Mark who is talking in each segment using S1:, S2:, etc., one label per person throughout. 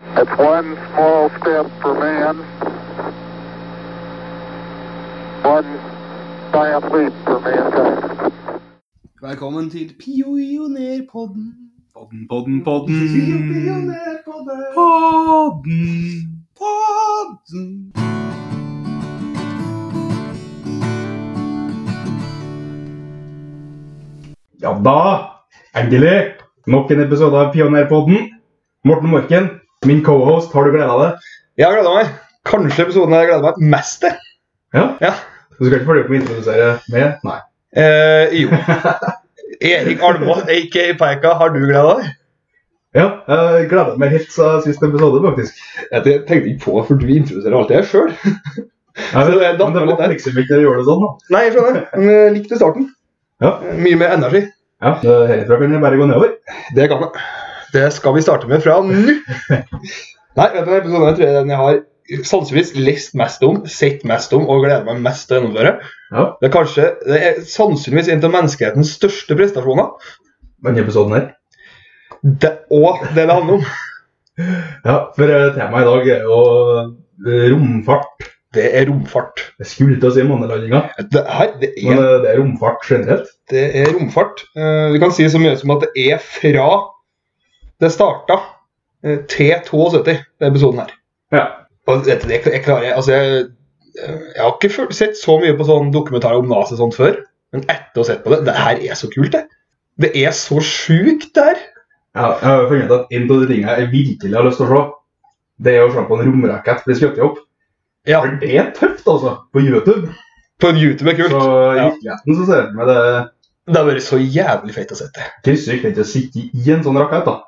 S1: That's one small step for man, one giant leap for mankind.
S2: Velkommen til Pionerpodden.
S3: Podden, podden, podden.
S2: Pionerpodden.
S3: Podden.
S2: Podden.
S3: Ja da, endelig. Nok en episode av Pionerpodden. Morten Morken, min co-host, har du gleda deg?
S4: Jeg har gleda meg. Kanskje episoden jeg gleder meg mest til.
S3: Ja?
S4: Ja.
S3: Du skal ikke følge opp med å introdusere meg? Nei.
S4: Eh, jo. Erik Almås, aka Peika, har du gleda deg?
S3: Ja, jeg gleder meg helt siden siste episode, faktisk.
S4: Jeg tenkte ikke på det, for du introduserer alltid deg sjøl. Så
S3: Ja,
S4: det er
S3: men det
S4: datteren
S3: var
S4: der.
S3: liksom ikke å gjøre det sånn, da.
S4: Nei, jeg skjønner. Men jeg likte starten. Eh,
S3: Ja.
S4: Mye mer energi.
S3: Ja, så Herifra kan jeg bare gå nedover.
S4: Det kan jeg. Det skal vi starte med fra nå. Nei, vet du, denne episoden her tror jeg den jeg har sannsynligvis lest mest om, sett mest om og gleder meg mest til å gjennomføre.
S3: Ja,
S4: Det er kanskje, det er sannsynligvis en av menneskehetens største prestasjoner.
S3: denne episoden her.
S4: Det, og det det handler om,
S3: Ja, for eh, temaet i dag er jo eh, romfart.
S4: det er romfart.
S3: Jeg skulle til å si månelandinga,
S4: Det her, det
S3: men
S4: er,
S3: eh, det er romfart generelt.
S4: det er romfart. Eh, Vi kan si så mye som at det er fra det starta eh, til 72, den episoden her.
S3: Ja.
S4: Og dette, det, jeg klarer, jeg- altså jeg, jeg har ikke føl- sett så mye på sånn dokumentarer om NASA og sånt før, men etter å ha sett på det Det her er så kult, det. Det er så sjukt, det her.
S3: Ja, jeg har jo funnet ut at en av de tingene jeg virkelig har lyst til å se, det er å se på en romrakett bli skutt opp.
S4: Ja,
S3: For det er tøft, altså, på YouTube.
S4: på YouTube er
S3: Så
S4: kult.
S3: i
S4: Ja.
S3: virkeligheten så ser det ut med det
S4: Det har vært så jævlig fett å se det.
S3: krysser ikke til å sitte i en sånn rakett, da.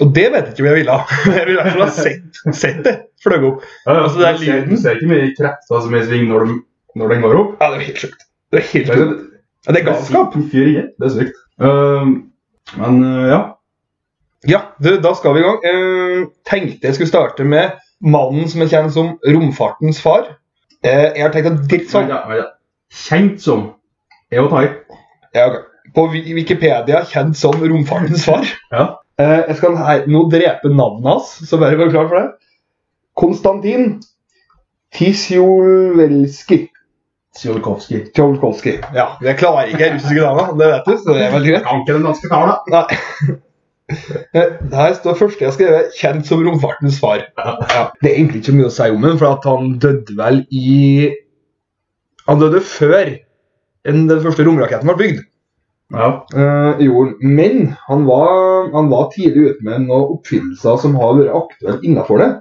S4: Og det vet jeg ikke om jeg ville ha. Jeg ville i hvert fall ha sett, sett det fløy opp.
S3: Ja, ja,
S4: Altså, det er
S3: du ser-
S4: lyden.
S3: Du ser ikke mye krefter som er i sving når, de, når den går opp.
S4: Ja, det var helt sjukt. Det var helt
S3: Det er,
S4: sjukt. Ja, det er
S3: det er
S4: galskap.
S3: sykt med fyr i. Det er sykt. Ehm, men eh, ja.
S4: Ja, du, da skal vi i gang. Eh, tenkte jeg skulle starte med mannen som er kjent som romfartens far. Eh, jeg har tenkt at dritt
S3: Sånn.
S4: sånn.
S3: Ja, ja. Kjent som er å ta i.
S4: Ja, ok. På Wi- Wikipedia kjent som romfartens far.
S3: Ja.
S4: Eh, jeg skal her, nå drepe navnet hans, så bare vær klar for det. Konstantin Tisjolvelskij.
S3: Sjolkovskij.
S4: Tjolkovskij. Ja, jeg klarer ikke russiske navn, det vet du, så det er veldig greit.
S3: Kan ikke den danske talen, da.
S4: Nei. Her står første jeg har skrevet 'Kjent som romfartens far'. Ja. Det er egentlig ikke så mye å si om ham, for at han døde vel i Han døde før enn den første romraketten ble bygd.
S3: Ja.
S4: eh, i jorden. Men han var, han var tidlig ute med noen oppfinnelser som har vært aktuelle innafor det.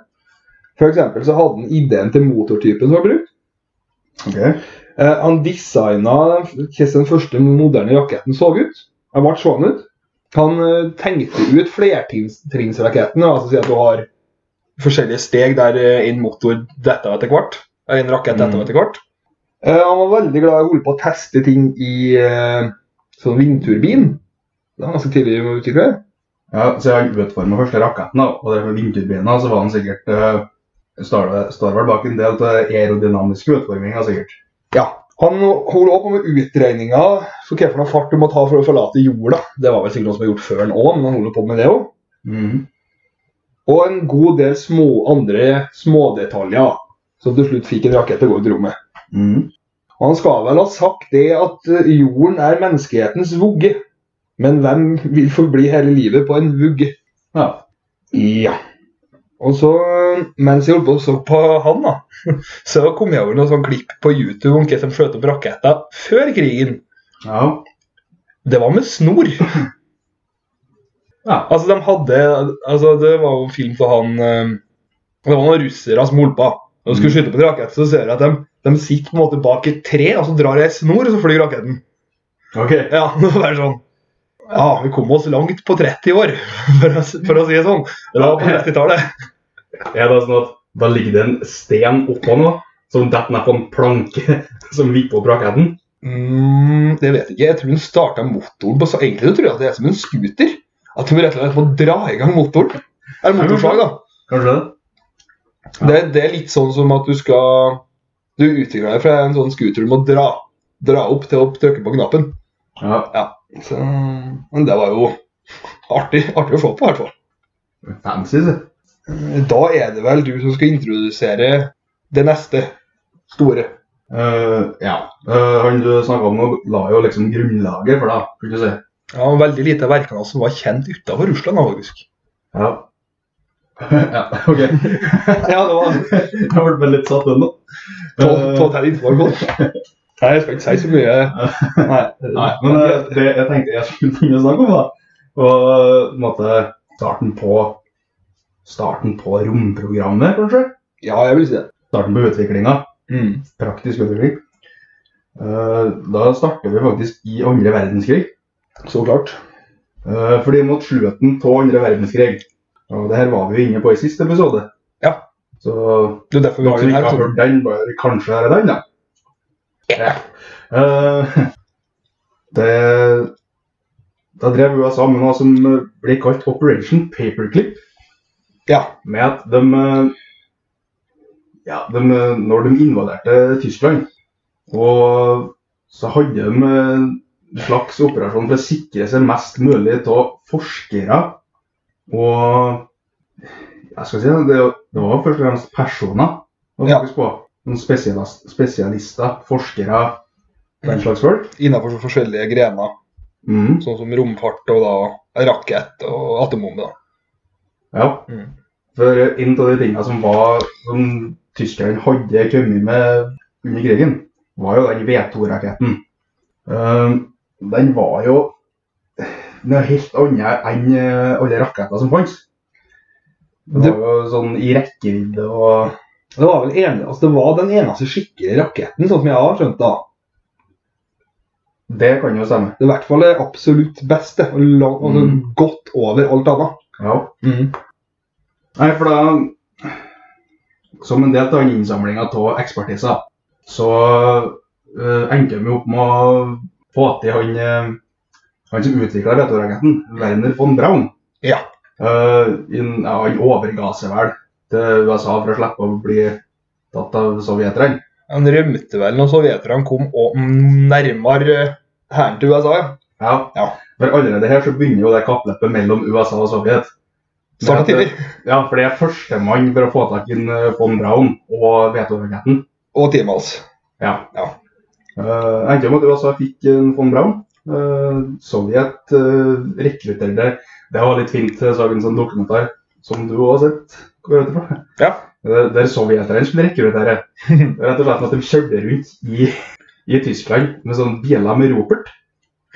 S4: For eksempel så hadde han ideen til motortypen som var brukt.
S3: Ok.
S4: Eh, han designa hvordan den første moderne raketten så ut. Den ble sånn ut. Han eh, tenkte ut flertrinnsraketten, altså si at du har forskjellige steg der eh, en motor detter av etter hvert. eh, En rakett detter av
S3: Mm.
S4: etter hvert. Eh, han var veldig glad i å holde på å teste ting i eh, sånn vindturbin. Det var ganske tidlig å utvikle.
S3: Ja, så jeg utforma første raketten, da, og det med vindturbina, så var han sikkert eh, Står det- står vel bak en del av det aerodynamiske utforminga, sikkert.
S4: Ja. Han holdt også på med utregninger for hvilken fart du må ta for å forlate jorda. Det var vel sikkert noe som er gjort før han òg, men han holder på med det òg.
S3: Mhm.
S4: Og en god del små, andre smådetaljer som til slutt fikk en rakett til å gå ut i rommet.
S3: Mhm.
S4: Og han skal vel ha sagt det at eh, jorden er menneskehetens vugge. Men hvem vil forbli hele livet på en vugge?
S3: Ja.
S4: Ja. Og så, eh, mens jeg holdt på og så på han, da, så kom jeg over noen sånn klipp på YouTube om hva som skjøt opp raketter før krigen.
S3: ja.
S4: Det var med snor.
S3: Ja.
S4: Altså, de hadde altså, Det var jo en film for han eh, Det var noen russere som holdt på. Når de skulle skyte på en rakett, så ser du at de, de sitter på en måte bak et tre, og så drar jeg snor, og så flyr raketten.
S3: Ok.
S4: Ja, det var bare sånn Ja, vi kom oss langt på 30 år, for å, for å si det sånn. Det var på 30-tallet.
S3: Er det sånn at da ligger det en sten oppå nå, som detter ned på en planke som vipper opp raketten?
S4: Mm, det vet jeg ikke. Jeg tror hun starta motoren på så Egentlig så tror jeg at det er som en scooter. At hun rett og slett må dra i gang motoren. Eller motorsag, da.
S3: Kanskje det?
S4: Det, det er litt sånn som at du skal Du utvikler deg fra en sånn scooter du må dra, dra opp til å trykke på knappen.
S3: Ja.
S4: Så, men det var jo artig, artig å se på, i hvert fall.
S3: Fancy, si.
S4: Da er det vel du som skal introdusere det neste store.
S3: Eh, ja. Eh, han du snakka om, nå, la jo liksom grunnlaget for det, kan du si.
S4: Ja, Veldig lite av verkene som var kjent utenfor Russland. da, faktisk.
S3: Ja. ja, OK.
S4: Ja, det var
S3: Jeg ble bare litt satt ut nå.
S4: Ta
S3: Eh,
S4: ta til informasjon. Nei, jeg skal ikke si så mye. Nei,
S3: Nei, men eh, det jeg tenkte jeg skulle begynne å snakke om, da, var eh, på en måte starten på Starten på romprogrammet, kanskje?
S4: Ja, jeg vil si det.
S3: Starten på utviklinga.
S4: Mm.
S3: Praktisk utvikling. Eh, da starter vi faktisk i andre verdenskrig.
S4: Så klart.
S3: Eh, fordi mot slutten av andre verdenskrig Og det her var vi jo inne på i siste episode.
S4: Ja.
S3: Så
S4: Det er derfor vi
S3: hvis
S4: har den
S3: vi ikke
S4: her.
S3: har hørt den, bare kanskje er det den, da.
S4: Ja.
S3: Eh, det Da drev USA med noe som ble kalt Operation Paperclip.
S4: Ja.
S3: Med at de eh, Ja, de, eh, når de invaderte Tyskland, og så hadde de eh, en slags operasjon for å sikre seg mest mulig av forskere og Jeg skal si det, det, det var først og fremst personer man
S4: Ja.
S3: fokus på. Noen spesialis- spesialister, forskere, den slags folk.
S4: Innenfor så forskjellige grener,
S3: Mm,
S4: sånn som romfart og da rakett og atombombe. da.
S3: ja.
S4: Mm.
S3: For eh, en av de tingene som var som tyskerne hadde kommet med under krigen, var jo den V2-raketten. den var jo noe helt annet enn eh, alle raketter som fantes. Det var jo sånn i rekkevidde og
S4: Det var vel en, altså det var den eneste skikkelige raketten, sånn som jeg har skjønt da.
S3: Det kan jo stemme.
S4: Det er i hvert fall det absolutt beste, og lang, altså
S3: Mm.
S4: godt over alt annet. Mm.
S3: Ja. Nei, for da Som en del av den innsamlinga av ekspertiser, så eh, endte de jo opp med å få til han, eh, han som utvikla vetorraketten, Werner von Braun.
S4: Ja.
S3: Eh, inn- ja, han overga seg vel til USA for å slippe å bli tatt av sovjeterne.
S4: Han rømte vel når sovjeterne kom og nærmere hæren til USA. ja.
S3: Ja.
S4: Ja.
S3: For allerede her så begynner jo det kappløpet mellom USA og Sovjet. Men at-
S4: Startet tidlig.
S3: Ja, for det er førstemann for å få tak i en, eh, von Braun og vetorraketten.
S4: Og Timals.
S3: Ja.
S4: Ja.
S3: Eh, endte med at USA fikk en von Braun. Eh, Sovjet eh, rekrutterte Det var litt fint, eh, så jeg en sånn dokumentar som du også har sett. Går jeg ut ifra.
S4: Ja.
S3: Eh, Der sovjeterne skulle rekruttere. Rett og slett med at de kjørte rundt i, i Tyskland med sånne biler med ropert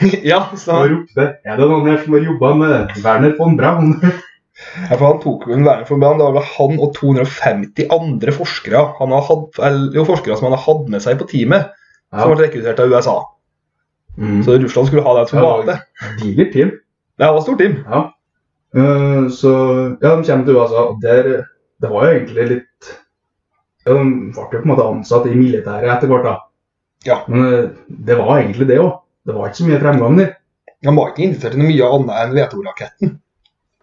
S4: ja, så
S3: og ropte Er det noen her som har jobba med Werner von Braun?
S4: Ja, for han tok jo en Werner von Braun. Det var vel han og 250 andre forskere han har hatt, eller, jo, forskere som han har hatt med seg på teamet, som ble rekruttert av USA.
S3: Mm.
S4: Så Russland skulle ha det som
S3: Ja,
S4: base.
S3: Digert team.
S4: Det var et stort team.
S3: Eh, så ja, de kommer til USA, og der Det var jo egentlig litt ja, De ble jo på en måte ansatt i militæret etter hvert, da.
S4: Ja.
S3: Men eh, det var egentlig det òg. Det var ikke så mye fremgang der.
S4: Han var ikke interessert i noe mye annet enn V2-raketten.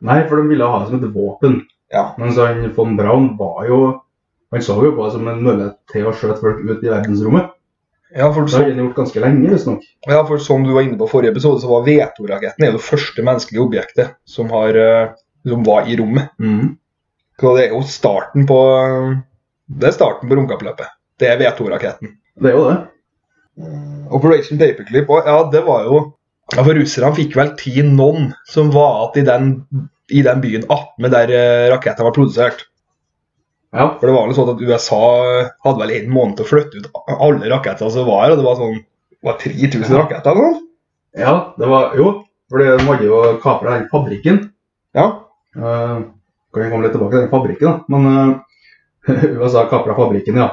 S3: Nei, for de ville ha det som et våpen.
S4: Ja.
S3: Mens han von Braun var jo Han så jo på det som en mulighet til å skjøte folk ut i verdensrommet.
S4: Ja for,
S3: Det
S4: så,
S3: har han gjort ganske lenge, visstnok.
S4: ja, for som du var inne på i forrige episode, så var V2-raketten er jo det første menneskelige objektet som, har, eh, som var i rommet.
S3: Mm.
S4: Så det er jo starten på eh, Det er starten på romkappløpet. Det er V2-raketten.
S3: Det er jo det.
S4: Operation Paperclip og ja, det var jo ja, For russerne fikk vel ti non som var igjen i den, i den byen attmed der eh, raketten var produsert.
S3: Ja.
S4: For det var vel sånn at USA hadde vel en måned til å flytte ut alle raketter som var her, og det var sånn det var 3000 raketter eller noe?
S3: ja, det var Jo, for de hadde jo kapra den fabrikken.
S4: Ja.
S3: Eh, kan vi komme litt tilbake til den fabrikken, da. Men eh, USA kapra fabrikken, ja.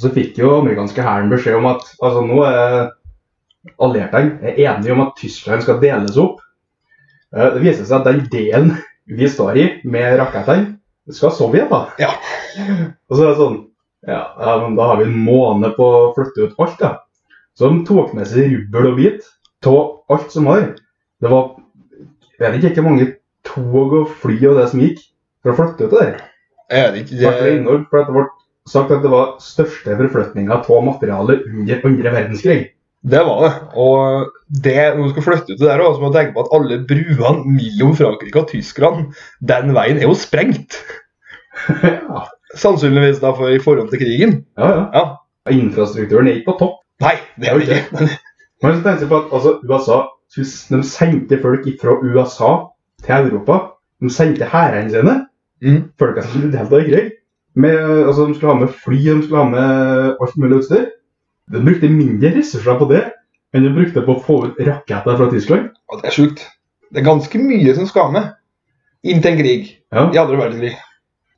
S3: Så fikk jo amerikanske hæren beskjed om at altså nå er allierte er enige om at Tyskland skal deles opp. Eh, det viser seg at den delen vi står i med rakettene, det skal Sovjet, da.
S4: Ja.
S3: Og så er det sånn ja, ja, men da har vi en måned på å flytte ut alt, da. Så de tok med seg rubbel og bit av alt som var. Det var jeg vet ikke hvor mange tog og fly og det som gikk, for å flytte ut det der.
S4: Er det ikke
S3: Det ble
S4: det?
S3: enormt, for det ble sagt at det var største forflytninga av materiale under andre verdenskrig.
S4: Det var det. Og det, når du skal flytte ut det der, også, så må du tenke på at alle bruene mellom Frankrike og Tyskland den veien er jo sprengt.
S3: ja,
S4: Sannsynligvis da for i forhold til krigen.
S3: ja.
S4: Ja.
S3: Infrastrukturen er ikke på topp.
S4: Nei, det er det ikke.
S3: Men så tenker jeg på at altså, USA sus- de sendte folk fra USA til Europa. De sendte hærene sine.
S4: Mm.
S3: Folka som skulle delta i krig. Med, altså, de skulle ha med fly, de skulle ha med alt mulig utstyr. De brukte mindre ressurser på det enn de brukte på å få ut raketter fra Tyskland.
S4: Og det er sjukt. Det er ganske mye som skal med inn til en krig
S3: Ja.
S4: i andre verdenskrig.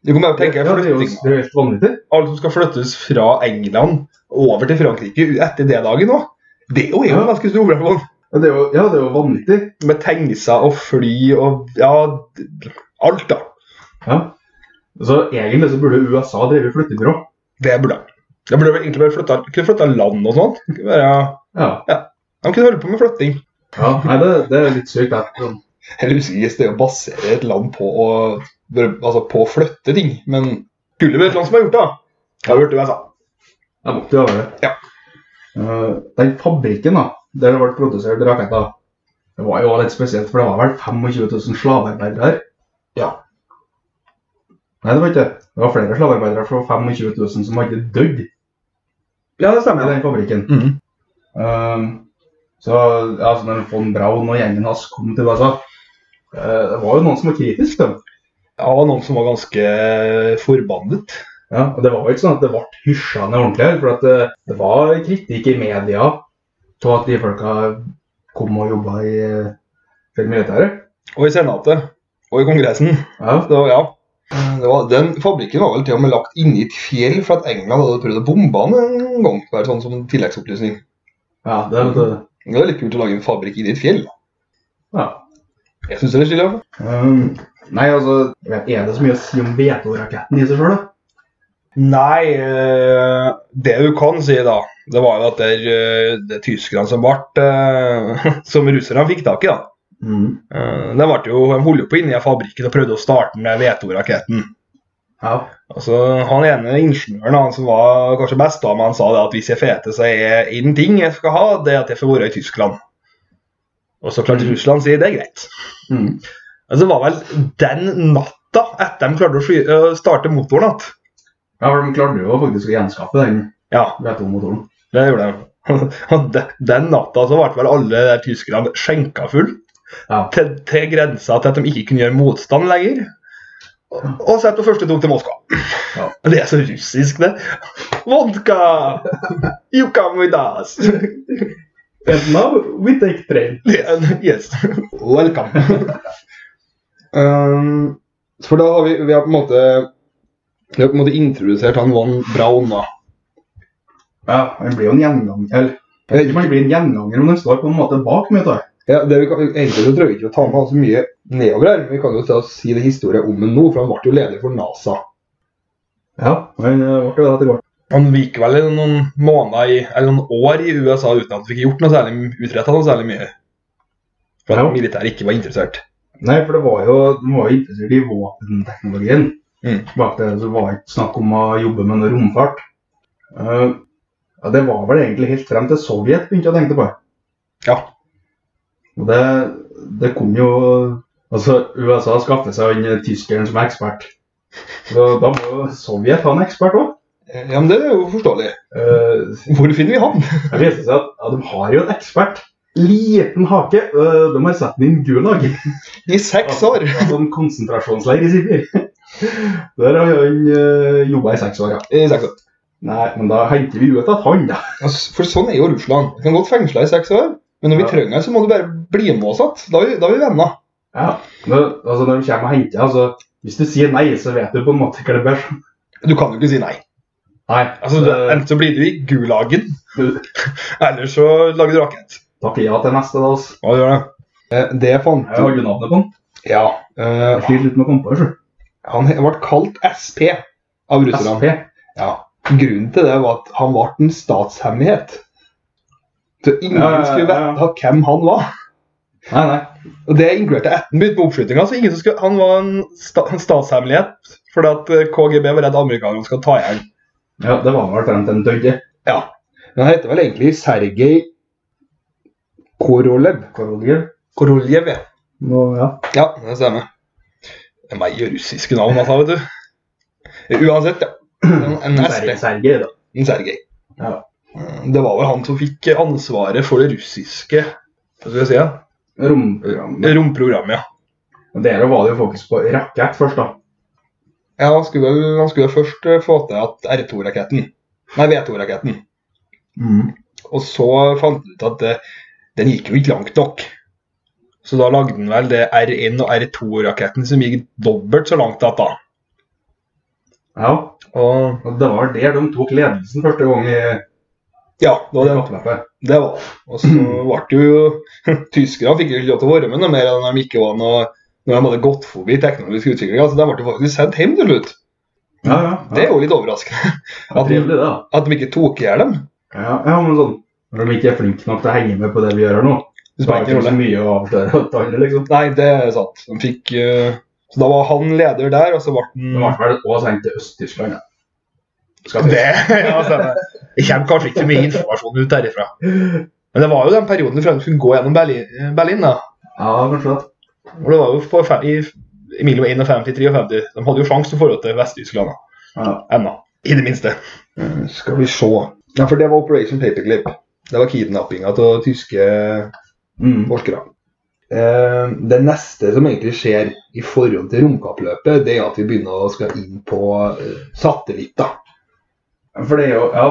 S4: Du kan bare tenke
S3: ja, det er jo
S4: flytting.
S3: det er jo helt vanvittig.
S4: Alt som skal flyttes fra England over til Frankrike etter det dagen òg. Det er jo en
S3: Ja.
S4: ganske stor operasjon.
S3: Ja, det er jo, ja, det er jo vanvittig.
S4: Med tanksene og fly og ja, d- alt, da.
S3: Ja. Så egentlig så burde USA drive flyttebyrå.
S4: Det burde de. De burde vel egentlig bare flytta, kunne flytta land og sånt. Kunne Bare,
S3: Ja.
S4: de kunne holde på med flytting.
S3: ja. Nei, det, det er litt sykt. det. Sånn,
S4: Jeg husker ikke det å basere et land på å, bare- altså på å flytte ting, men skulle vi et land som har gjort det, altså? da? Da burde USA.
S3: Jeg måtte jo gjøre det.
S4: Ja.
S3: Eh, den fabrikken da, der det ble produsert raketter, det var jo også litt spesielt, for det var vel 25 000 slavearbeidere her.
S4: Ja.
S3: Nei, det var ikke det. Det var flere slavearbeidere fra 25 000 som hadde dødd i
S4: Ja, det
S3: den fabrikken.
S4: Mhm.
S3: Eh, så ja, så når von Braun og gjengen hans kom til USA, eh, det var jo noen som var kritisk til dem.
S4: Ja, det var noen som var ganske forbannet.
S3: Ja, og det var jo ikke sånn at det ble hysja ned ordentlig her, for at det, det var kritikk i media til at de folka kom og jobba i eh, for militæret.
S4: Og i Senatet. Og i Kongressen.
S3: Ja,
S4: Det var, ja. Det var, den fabrikken var vel til og med lagt inni et fjell for at England hadde prøvd å bombe den en gang. Bare sånn som en tilleggsopplysning.
S3: ja det, det,
S4: Det var litt kult å lage en fabrikk inni et fjell.
S3: ja.
S4: Jeg syns det er altså. stilig. i hvert fall.
S3: Um, nei, altså, jeg vet, er det så mye å si om vetoraketten i seg sjøl, da?
S4: Nei, eh, det du kan si da, det var jo at det, er, eh, det er tyskerne som ble eh, Som russerne fikk tak i, da.
S3: Mm.
S4: Eh, Det ble jo, de holdt jo på inni fabrikken og prøvde å starte den der Veto-raketten.
S3: Ja.
S4: Altså, han ene ingeniøren han som var kanskje best, da, men han sa det at hvis jeg feter, så er én ting jeg skal ha, det er at jeg får være i Tyskland. Og så klarte
S3: Mm.
S4: Russland å si det er greit.
S3: Mm.
S4: Altså, det var vel den natta etter de klarte å sky øh, starte motoren igjen.
S3: ja, for de klarte jo faktisk å gjenskape den
S4: Ja,
S3: vetomotoren.
S4: det gjorde de. Og de- den natta så ble vel alle der tyskerne skjenka full
S3: Ja.
S4: til, til grensa til at de ikke kunne gjøre motstand lenger. Og, og så etter første tok til Moskva.
S3: Ja.
S4: Det er så russisk, det. Vodka! You come with us!
S3: And now we take train.
S4: Yes. Welcome. Um, for da har vi, vi har på en måte Vi har på en måte introdusert han Van Braun, da.
S3: Ja, han blir jo en gjengang... Eller, jeg vet ikke om han blir en gjenganger, men han står på en måte bak mye av det.
S4: Ja, det vi kan, egentlig så trenger vi ikke å ta med så mye nedover her, men vi kan jo ta og si det historien om ham nå, for han ble jo leder for NASA.
S3: Ja, han eh, ble jo det etter hvert.
S4: Han gikk vel i noen måneder i, eller noen år i USA uten at han fikk gjort noe særlig, utretta noe særlig mye. For at
S3: Ja.
S4: militæret ikke var interessert.
S3: Nei, for det var jo, de var jo interessert i våpenteknologien.
S4: Mm.
S3: Bak det så var det ikke snakk om å jobbe med noe romfart. Eh, ja, det var vel egentlig helt frem til Sovjet begynte å tenke på det.
S4: Ja.
S3: Og det, det kom jo Altså, USA skaffet seg en tyskeren som er ekspert. Så da må jo Sovjet ha en ekspert òg.
S4: Eh, Ja, men det er jo forståelig.
S3: Uh,
S4: Hvor finner vi han?
S3: det viste seg at ja, de har jo en ekspert. Liten hake. eh, de har satt den i en gulag.
S4: I seks år!
S3: Ja, sånn konsentrasjonsleir i Sibir. Der har han uh, jobba i seks år, ja.
S4: I seks år.
S3: Nei, men da henter vi ut at han, da.
S4: Altså, For sånn er jo Russland. Vi kan godt fengsle deg i seks år, men når vi
S3: Ja.
S4: trenger deg, så må du bare bli med oss igjen. Da er vi- da er vi venner.
S3: Ja, nå, altså Når de kommer og henter altså, Hvis du sier nei, så vet du på en måte hva det blir.
S4: Du kan jo ikke si nei.
S3: Nei,
S4: Altså,
S3: så-
S4: Enten så blir du i gulagen, eller så lager du rakett.
S3: takk ja til neste, da. altså.
S4: Ja, det gjør det. Eh, Det fant
S3: Jeg har jo navnet på han.
S4: Ja.
S3: Jeg
S4: Eh,
S3: sliter litt med å komme på det sjøl.
S4: han he- ble kalt SP av russerne.
S3: SP.
S4: Ja. Grunnen til det var at han ble en statshemmelighet. Så ingen
S3: Ja, ja, ja,
S4: skulle
S3: ja.
S4: vite hvem han var.
S3: Nei, nei.
S4: Og Det inkluderte Attenbud på oppskytinga. så ingen som skulle, Han var en, sta, en statshemmelighet fordi at eh, KGB var redd amerikanerne skulle ta igjen.
S3: Ja, Det var vel frem til en døde.
S4: Ja. Men han heter vel egentlig Sergej Korolev.
S3: Korolger.
S4: Korolev, ja.
S3: Nå, ja.
S4: Ja, det stemmer. Det er meg og russiske navn, altså, vet du. Uansett, ja. En, en
S3: Sergej,
S4: SP.
S3: Sergej, da.
S4: En Sergej.
S3: Ja.
S4: Eh, Det var vel han som fikk ansvaret for det russiske hva skal jeg si, ja?
S3: Romprogrammet.
S4: romprogrammet. ja.
S3: Og Der var det jo fokus på rakett først, da.
S4: Ja, Han skulle, vel- han skulle først eh, få til at R2-raketten Nei, V2-raketten.
S3: Mm.
S4: Og så fant han ut at eh, den gikk jo ikke langt nok. Så da lagde han vel det R1- og R2-raketten som gikk dobbelt så langt at da.
S3: Ja,
S4: Og
S3: og det var der de tok ledelsen første gang i
S4: ja, det var det.
S3: kappløpet.
S4: Det var det. Og så ble det jo Tyskerne fikk jo ikke lov til å være med noe mer enn de ikke var noe når de hadde gått forbi teknologisk utvikling. Altså, de ble jo faktisk sendt hjem til slutt.
S3: Ja, ja.
S4: Det er jo litt overraskende.
S3: ja, trivelig, det, da.
S4: At de ikke tok i hjel dem.
S3: Ja, ja, men sånn Når de ikke er flinke nok til å henge med på det vi gjør her nå,
S4: Det
S3: så
S4: spiller
S3: er det
S4: ingen
S3: ikke så
S4: rolle.
S3: mye å avsløre til andre, liksom.
S4: Nei, det er sant. De fikk, eh, så da var han leder der, og så ble han
S3: Det var i hvert fall også sendt til Øst-Tyskland. ja. Skal vi-
S4: Det, ja, stemmer. det kommer kanskje ikke så mye informasjon ut derifra. Men det var jo den perioden frem til hun gå gjennom Berlin, Berlin da.
S3: Ja, kanskje det.
S4: Og det var jo på, fe- i, i mellom 51 og 53. De hadde jo sjans til forhold til Vest-Tyskland da.
S3: Ja.
S4: ennå. I det minste. Eh, Skal vi se. Ja, for det var Operation Paperclip. Det var kidnappinga av tyske
S3: Mm.
S4: forskere. Eh, det neste som egentlig skjer i forhold til romkappløpet, det er at vi begynner å skal inn på eh, satellitter.
S3: For det er jo Ja.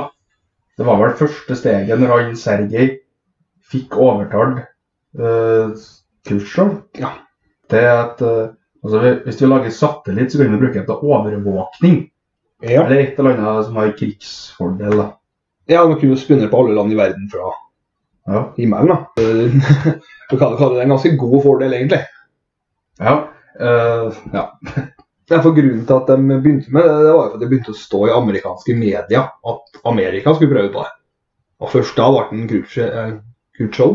S3: Det var vel første steget når han Sergej fikk overtalt uh, Khrusjtsjov
S4: Ja.
S3: til at eh, altså, Hvis du lager satellitt, så kan du bruke den til overvåkning.
S4: Ja.
S3: Eller et eller annet som har krigsfordel. da.
S4: Ja, man kunne jo spunnet på alle land i verden fra
S3: Ja.
S4: himmelen, da. Du kan jo kalle det en ganske god fordel, egentlig.
S3: ja. eh, ja.
S4: Ja, for Grunnen til at de begynte med det, det var jo for at det begynte å stå i amerikanske media at Amerika skulle prøve på det. Og først da ble den Khrushchev, eh, Khrushchev,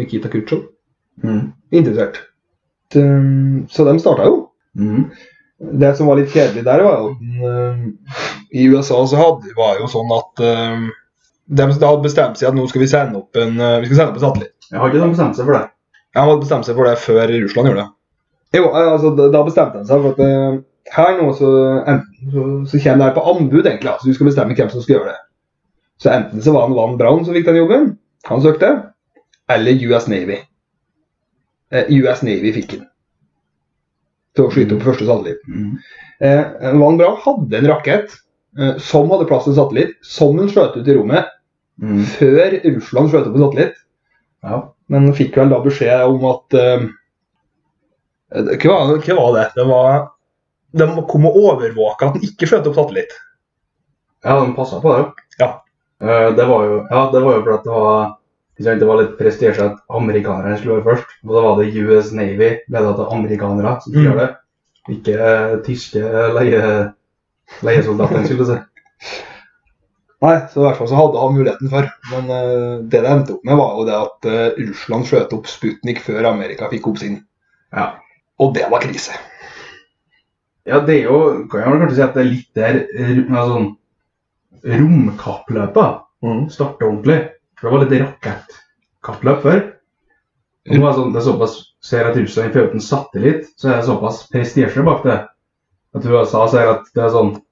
S4: Nikita Khrushchev
S3: Mm.
S4: interessert. Ehm, Så de starta jo.
S3: Mm.
S4: Det som var litt kjedelig der, var jo at den, eh, i USA så hadde, var jo sånn at eh, de hadde bestemt seg at nå skal vi sende opp en, eh, vi skal sende opp en satellitt.
S3: Jeg har ikke noen bestemt seg for det.
S4: Ja, Han hadde bestemt seg for det før Russland gjorde det. Jo, eh, altså, Da da bestemte han seg for at eh, her nå så, enten, så, så kommer det her på anbud, egentlig. altså Du skal bestemme hvem som skal gjøre det. Så enten så var han Van Brown som fikk den jobben, han søkte, eller US Navy. Eh, US Navy fikk den. Til å skyte opp første satellitt.
S3: Mm.
S4: Eh, Van Brown hadde en rakett eh, som hadde plass til en satellitt, som hun skjøt ut i rommet
S3: Mm.
S4: før Russland skjøt opp en satellitt.
S3: Ja.
S4: Men fikk vel da beskjed om at eh, det- hva, hva var det? Det var De kom og overvåka at den ikke skjøt opp satellitt.
S3: ja, de passa på det.
S4: Ja.
S3: Eh, det var jo ja, det var jo fordi det var ikke sant, det var litt prestisje at amerikanerne skulle være først. Og da var det US Navy, ledet av amerikanere, som
S4: Mm.
S3: gjør det. Ikke eh, tyske leie, leiesoldater, skulle jeg si.
S4: Nei, så i hvert fall så hadde han muligheten for. Men eh, det det endte opp med, var jo det at eh, Russland skjøt opp Sputnik før Amerika fikk opp sin.
S3: Ja.
S4: Og det var krise.
S3: Ja, det er jo Kan jeg vel kanskje si at det er litt der eh, altså, romkappløpet
S4: Mm.
S3: starter ordentlig. For det var litt rakettkappløp før. Og nå er det sånn, det er såpass, ser at Russland får ut en satellitt, så er det såpass prestisje bak det. At USA ser at det er sånn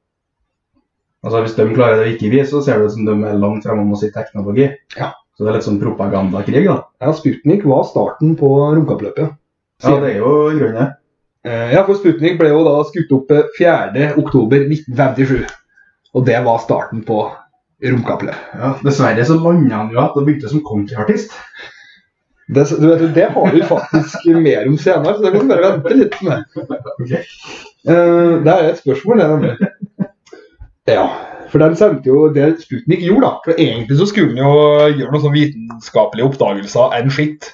S3: Altså Hvis de klarer det og ikke vi, så ser det ut som de er langt fremme om å si teknologi.
S4: Ja.
S3: Så det er litt sånn propagandakrig, da.
S4: Ja, Sputnik var starten på romkappløpet.
S3: Ja, det er jo i grunnen det.
S4: Eh, Ja, for Sputnik ble jo da skutt opp eh, 4. oktober 1957. Og det var starten på romkappløpet.
S3: Ja, dessverre så landa han jo at det begynte som countryartist.
S4: Det, du vet, det har vi faktisk mer om senere, så det kan du bare vente litt med.
S3: Ok.
S4: Eh, det er et spørsmål, det. nemlig. Ja, for den sendte jo det Sputnik gjorde, da. For egentlig så skulle den jo gjøre noen sånne vitenskapelige oppdagelser enn skitt.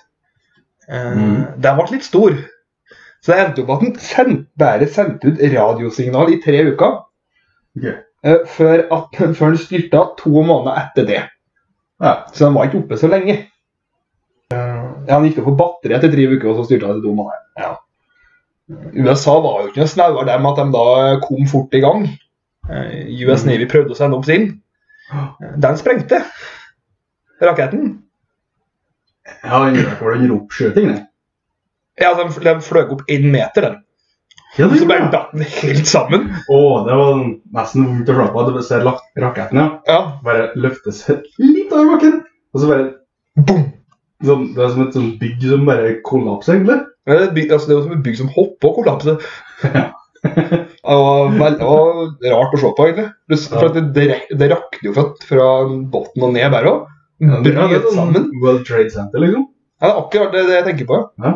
S4: Eh,
S3: Mhm.
S4: Den ble litt stor. Så det endte opp at den send, bare sendte ut radiosignal i tre uker.
S3: Ok.
S4: eh, før, at, før den styrta to måneder etter det.
S3: Ja.
S4: Så den var ikke oppe så lenge. Ja, Han gikk opp på batteri etter tre uker, og så styrte han etter to måneder. Ja. USA var jo ikke noe snauere dem at de da kom fort i gang. Eh, US
S3: Mm.
S4: Navy prøvde å sende opp sin. Eh, Den sprengte raketten.
S3: Ja, han gjør det for den ropskyting, det.
S4: Ja, de, de fløy opp én meter, den.
S3: Ja,
S4: Og så bare datt den helt sammen.
S3: Å, det var nesten vondt å se på. Du ser lak- raketten, ja.
S4: Ja.
S3: Bare løfte seg litt over bakken. Og så bare
S4: Boom!
S3: sånn, Det er som et sånt bygg som bare kollapser, egentlig.
S4: Ja, Det er et bygg- altså, det er jo som et bygg som hopper og kollapser. Det var veldig det var rart å se på, egentlig. Du s- For at det, det, rek- det rakner jo fra, fra bunnen og ned bare òg.
S3: Ja, det er
S4: Brøt
S3: sånn
S4: sammen.
S3: World Trade Center, liksom.
S4: Ja, det er akkurat det, det jeg tenker på.
S3: Ja.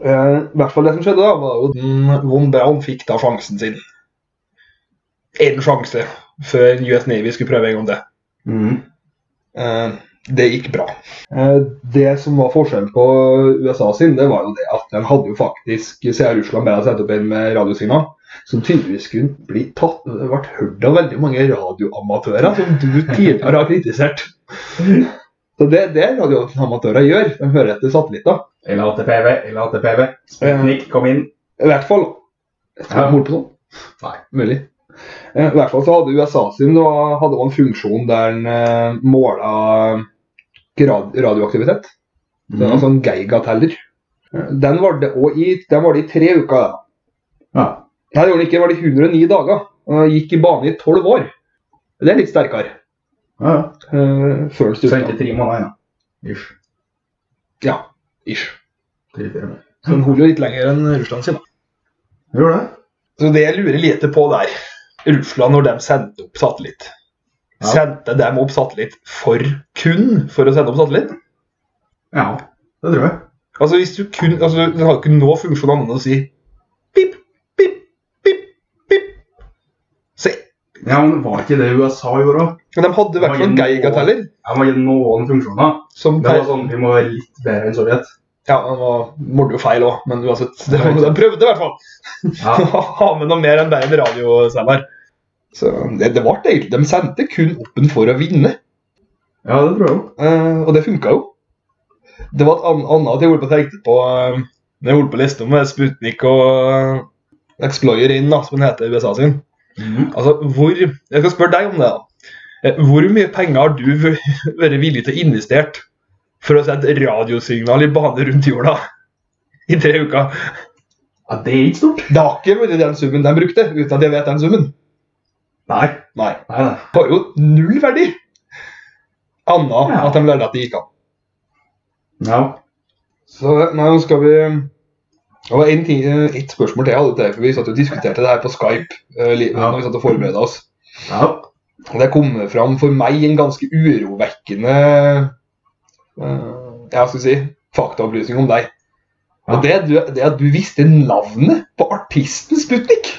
S4: Eh, I hvert fall det som skjedde, da, var jo at Von Braun fikk da sjansen sin. Én sjanse før US Navy skulle prøve en gang til.
S3: Mm.
S4: Eh, det gikk bra. Eh, det som var forskjellen på USA sin, det var jo det at den hadde jo faktisk siden Russland bare hadde sendt opp en med radiosignal, som tydeligvis kunne bli tatt Det ble hørt av veldig mange radioamatører som du tidligere har kritisert. Så det er det radioamatører gjør. De hører etter satellitter.
S3: Eller ATPV, eller ATPV. Sputnik, kom inn.
S4: I hvert fall. Jeg tror jeg holder på sånn.
S3: Nei.
S4: Mulig. Eh, I hvert fall så hadde USA sin da, hadde også en funksjon der den eh, måla grad, radioaktivitet.
S3: Mm.
S4: Så
S3: Mhm. altså-
S4: en sånn geigateller. Eh, Den var det også i, den var det i tre uker. da.
S3: Ja.
S4: Nei, det var det ikke. Det var det 109 dager. Og den gikk i bane i tolv år. Det er litt sterkere.
S3: ja.
S4: Uh, før den
S3: Du
S4: styrta.
S3: tre måneder, ja. Ish.
S4: Ja, ish.
S3: Tre-fire måneder.
S4: Så den holder jo litt lenger enn Russland sin. da.
S3: Gjør det.
S4: Så det jeg lurer lite på der Russland, når de sendte opp satellitt
S3: Ja.
S4: Sendte de opp satellitt for kun for å sende opp satellitt?
S3: Ja, det tror jeg.
S4: Altså, hvis du kun, altså, Den har jo ikke noe funksjon annet enn å si pip, pip, pip, pip. Se,
S3: Ja, men Var ikke det USA gjorde òg?
S4: men de hadde i hvert fall geigateller.
S3: Jeg må gi noen funksjoner.
S4: Som
S3: Det var sånn, Vi må være litt bedre enn Sovjet.
S4: Ja, den var mordde jo feil òg, men uansett. Det var, de prøvde i hvert fall
S3: Ja.
S4: å ha med noe mer enn bare en radiosender. Så det, det var deilig. De sendte kun opp en for å vinne.
S3: ja, det tror jeg òg.
S4: Eh, og det funka jo. Det var et an- annet jeg holdt på å tenke på eh, når jeg holdt på å liste om eh, Sputnik og eh, Explorer in, da, som den heter i USA sin.
S3: Mm.
S4: Altså, hvor, Jeg skal spørre deg om det. da. Eh, Hvor mye penger har du v- vært villig til å investere for å sette radiosignal i bane rundt jorda i tre uker?
S3: Ja, Det er ikke stort.
S4: Det har ikke vært den summen de brukte, uten at jeg vet den summen.
S3: Nei.
S4: Nei.
S3: Nei, nei.
S4: Det har jo null verdi. Annet
S3: Ja.
S4: at de lærte at det gikk an.
S3: Ja.
S4: Så nei, nå skal vi eh, Det var en ting, eh, ett spørsmål til jeg hadde til deg, for vi satt og diskuterte det her på Skype. eh, li-
S3: Ja.
S4: når vi satt og forberedte oss.
S3: ja.
S4: Og Det kom fram for meg en ganske urovekkende eh, jeg skal si, faktaopplysning om deg. Og det, er du, det er at du visste navnet på artisten Sputnik.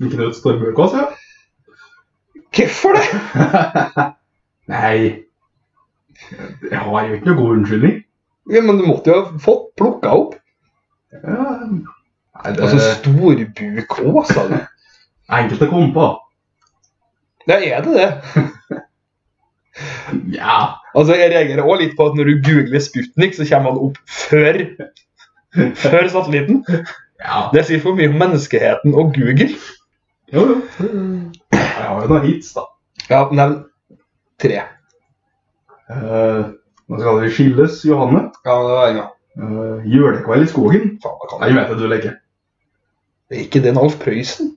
S3: Ikke noe stormurkås, ja?
S4: Hvorfor det?
S3: Nei. Jeg har jo ikke noe god unnskyldning.
S4: Ja, men du måtte jo ha fått plukka opp.
S3: Ja. Nei, det
S4: Altså storbuk òg, sa du.
S3: Enkelt å komme på.
S4: Ja, er det det?
S3: Ja.
S4: Altså, Jeg reagerer også litt på at når du googler Sputnik, så kommer han opp før, før satellitten.
S3: ja.
S4: Det sier for mye om menneskeheten og Google.
S3: Jo, jo. Jeg har jo noen hits, da.
S4: Ja, nevn tre.
S3: Eh, nå skal vi skilles, Johanne.
S4: Ja, det var en gang.
S3: Eh, julekveld i skogen.
S4: Faen, hva kan
S3: Nei,
S4: jeg?
S3: jeg vet det du leker.
S4: Er ikke den Alf Prøysen?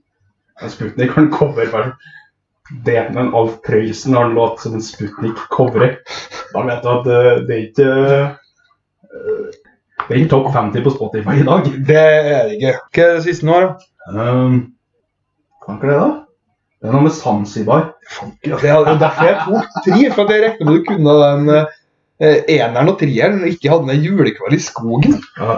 S3: En Sputnik har en coverversjon. Det er en Alf Prøysen har en låt som en Sputnik coverer. Da vet du at eh, det er ikke eh, Det er ikke topp 50 på Spotify i dag.
S4: Det er det ikke. Hva er det siste nå, da?
S3: Um, kan ikke det, da? Det er noe med Zanzibar.
S4: Ja, det er det er derfor jeg tok tre, for at jeg regnet med du kunne den eh, eneren og treeren, og ikke hadde med julekveld i skogen.
S3: Ja.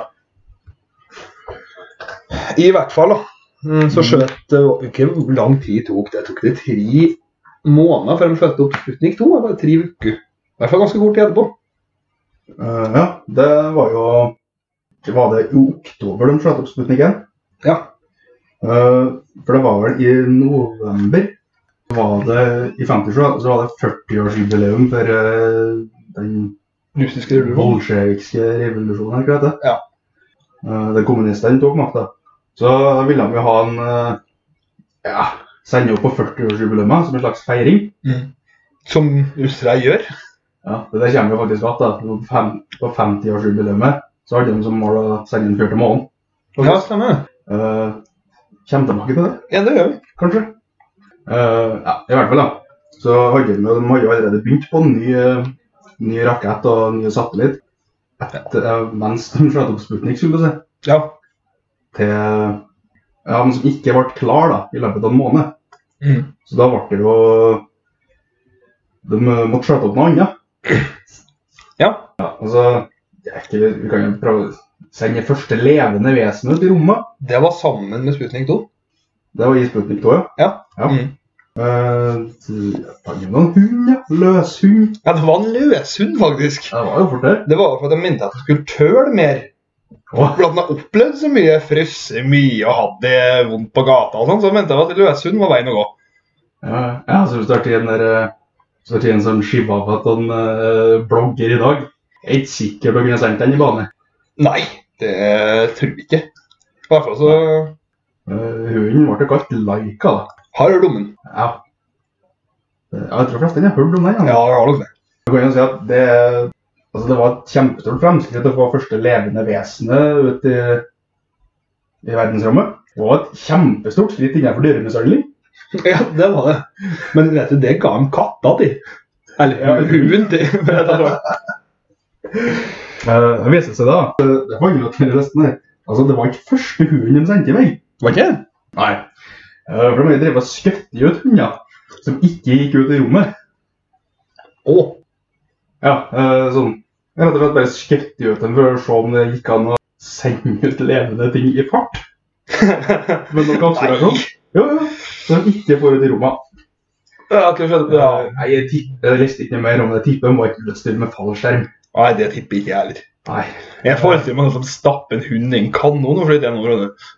S4: I hvert fall, da. Mm, Så skjøt eh, Ikke hvor lang tid tok det? Tok det tre måneder før de skjøt opp Sputnik 2? Eller tre uker? I hvert fall ganske kort tid etterpå.
S3: Eh, ja, det var jo Var det i oktober de skjøt opp Sputnik 1?
S4: Ja.
S3: Eh, for det var vel i november var det, I 57 da, så var det 40-årsjubileum for eh, den
S4: Russiske revolusjonen.
S3: bolsjevikske revolusjonen, ikke det?
S4: Ja.
S3: Eh, det kommunistene tok makta. Så da ville de jo ha en eh, ja, sende opp på 40-årsjubileet som en slags feiring.
S4: Som russere gjør.
S3: Ja, Det der kommer jo faktisk att. da. På fem- På 50-årsjubileet så hadde de som mål å sende en fyr til månen.
S4: Ja, stemmer.
S3: Eh, Kjem tilbake til det,
S4: Ja, det gjør vi.
S3: kanskje. Eh, ja, i hvert fall, da. Så hadde de, de hadde jo allerede begynt på en ny, eh, ny rakett og ny satellitt. Etter, eh, mens de skjøt opp Sputnik, skulle du si.
S4: Ja.
S3: Til ja, men som ikke ble klar da, i løpet av en måned.
S4: Mm.
S3: Så da ble det jo De måtte skjøte opp noe annet.
S4: Ja.
S3: Ja, altså, det er ikke, vi kan jo prøve å sende første levende vesenet til rommet.
S4: Det var sammen med Sputnik 2.
S3: Det var i Sputnik 2, ja. Ja.
S4: Mm.
S3: Eh, Fant de noen hund, ja? Løshund?
S4: ja, det var en løshund, faktisk.
S3: Det var jo fort der.
S4: Det var for at jeg mente at du skulle tøle mer.
S3: Åh,
S4: For at den har opplevd så mye, frosset mye og hatt det vondt på gata og sånn, så mente jeg at løshund var veien å gå.
S3: Ja, ja, så du starter i en der eh, så starter i en sånn chihuahua til en eh, blogger i dag. Jeg er ikke sikker på om jeg kunne sendt den i bane.
S4: Nei, det tror jeg ikke. I hvert fall så
S3: Eh, hunden ble jo kalt Laika, da.
S4: har jeg hørt om den.
S3: Ja. Eh, Jeg tror flest den har hørt om den.
S4: Ja, jeg har nok det.
S3: Du kan jo si at det, altså det var et kjempestort fremskritt å få første levende vesenet ut i, i verdensrommet. Og et kjempestort skritt innenfor dyremishandling.
S4: Ja, det var det. Men vet du, det ga dem katta til. Eller
S3: Ja.
S4: hunden til. for jeg tar det.
S3: Eh, Det viste seg da eh, Det var jo til resten her. Altså, det var ikke første hunden de sendte i vei.
S4: Var ikke det?
S3: Nei. For de drev og skøtte ut hunder som ikke gikk ut i rommet.
S4: Å,
S3: Ja, eh, sånn. Jeg rett og slett bare skøtte ut dem for å se om det gikk an å sende ut levende ting i fart. Men noen observasjon. Jo, jo. Så de ikke får ut i rommet.
S4: det har ikke skjedd.
S3: Ja. Nei, jeg, tipp, jeg leste ikke mer om det tippet. Må ikke lyst til med fallskjerm.
S4: Nei, det tipper ikke jeg heller.
S3: Nei,
S4: Jeg forestiller meg noen som stapper en hund i en kanon og flytter gjennom rommet.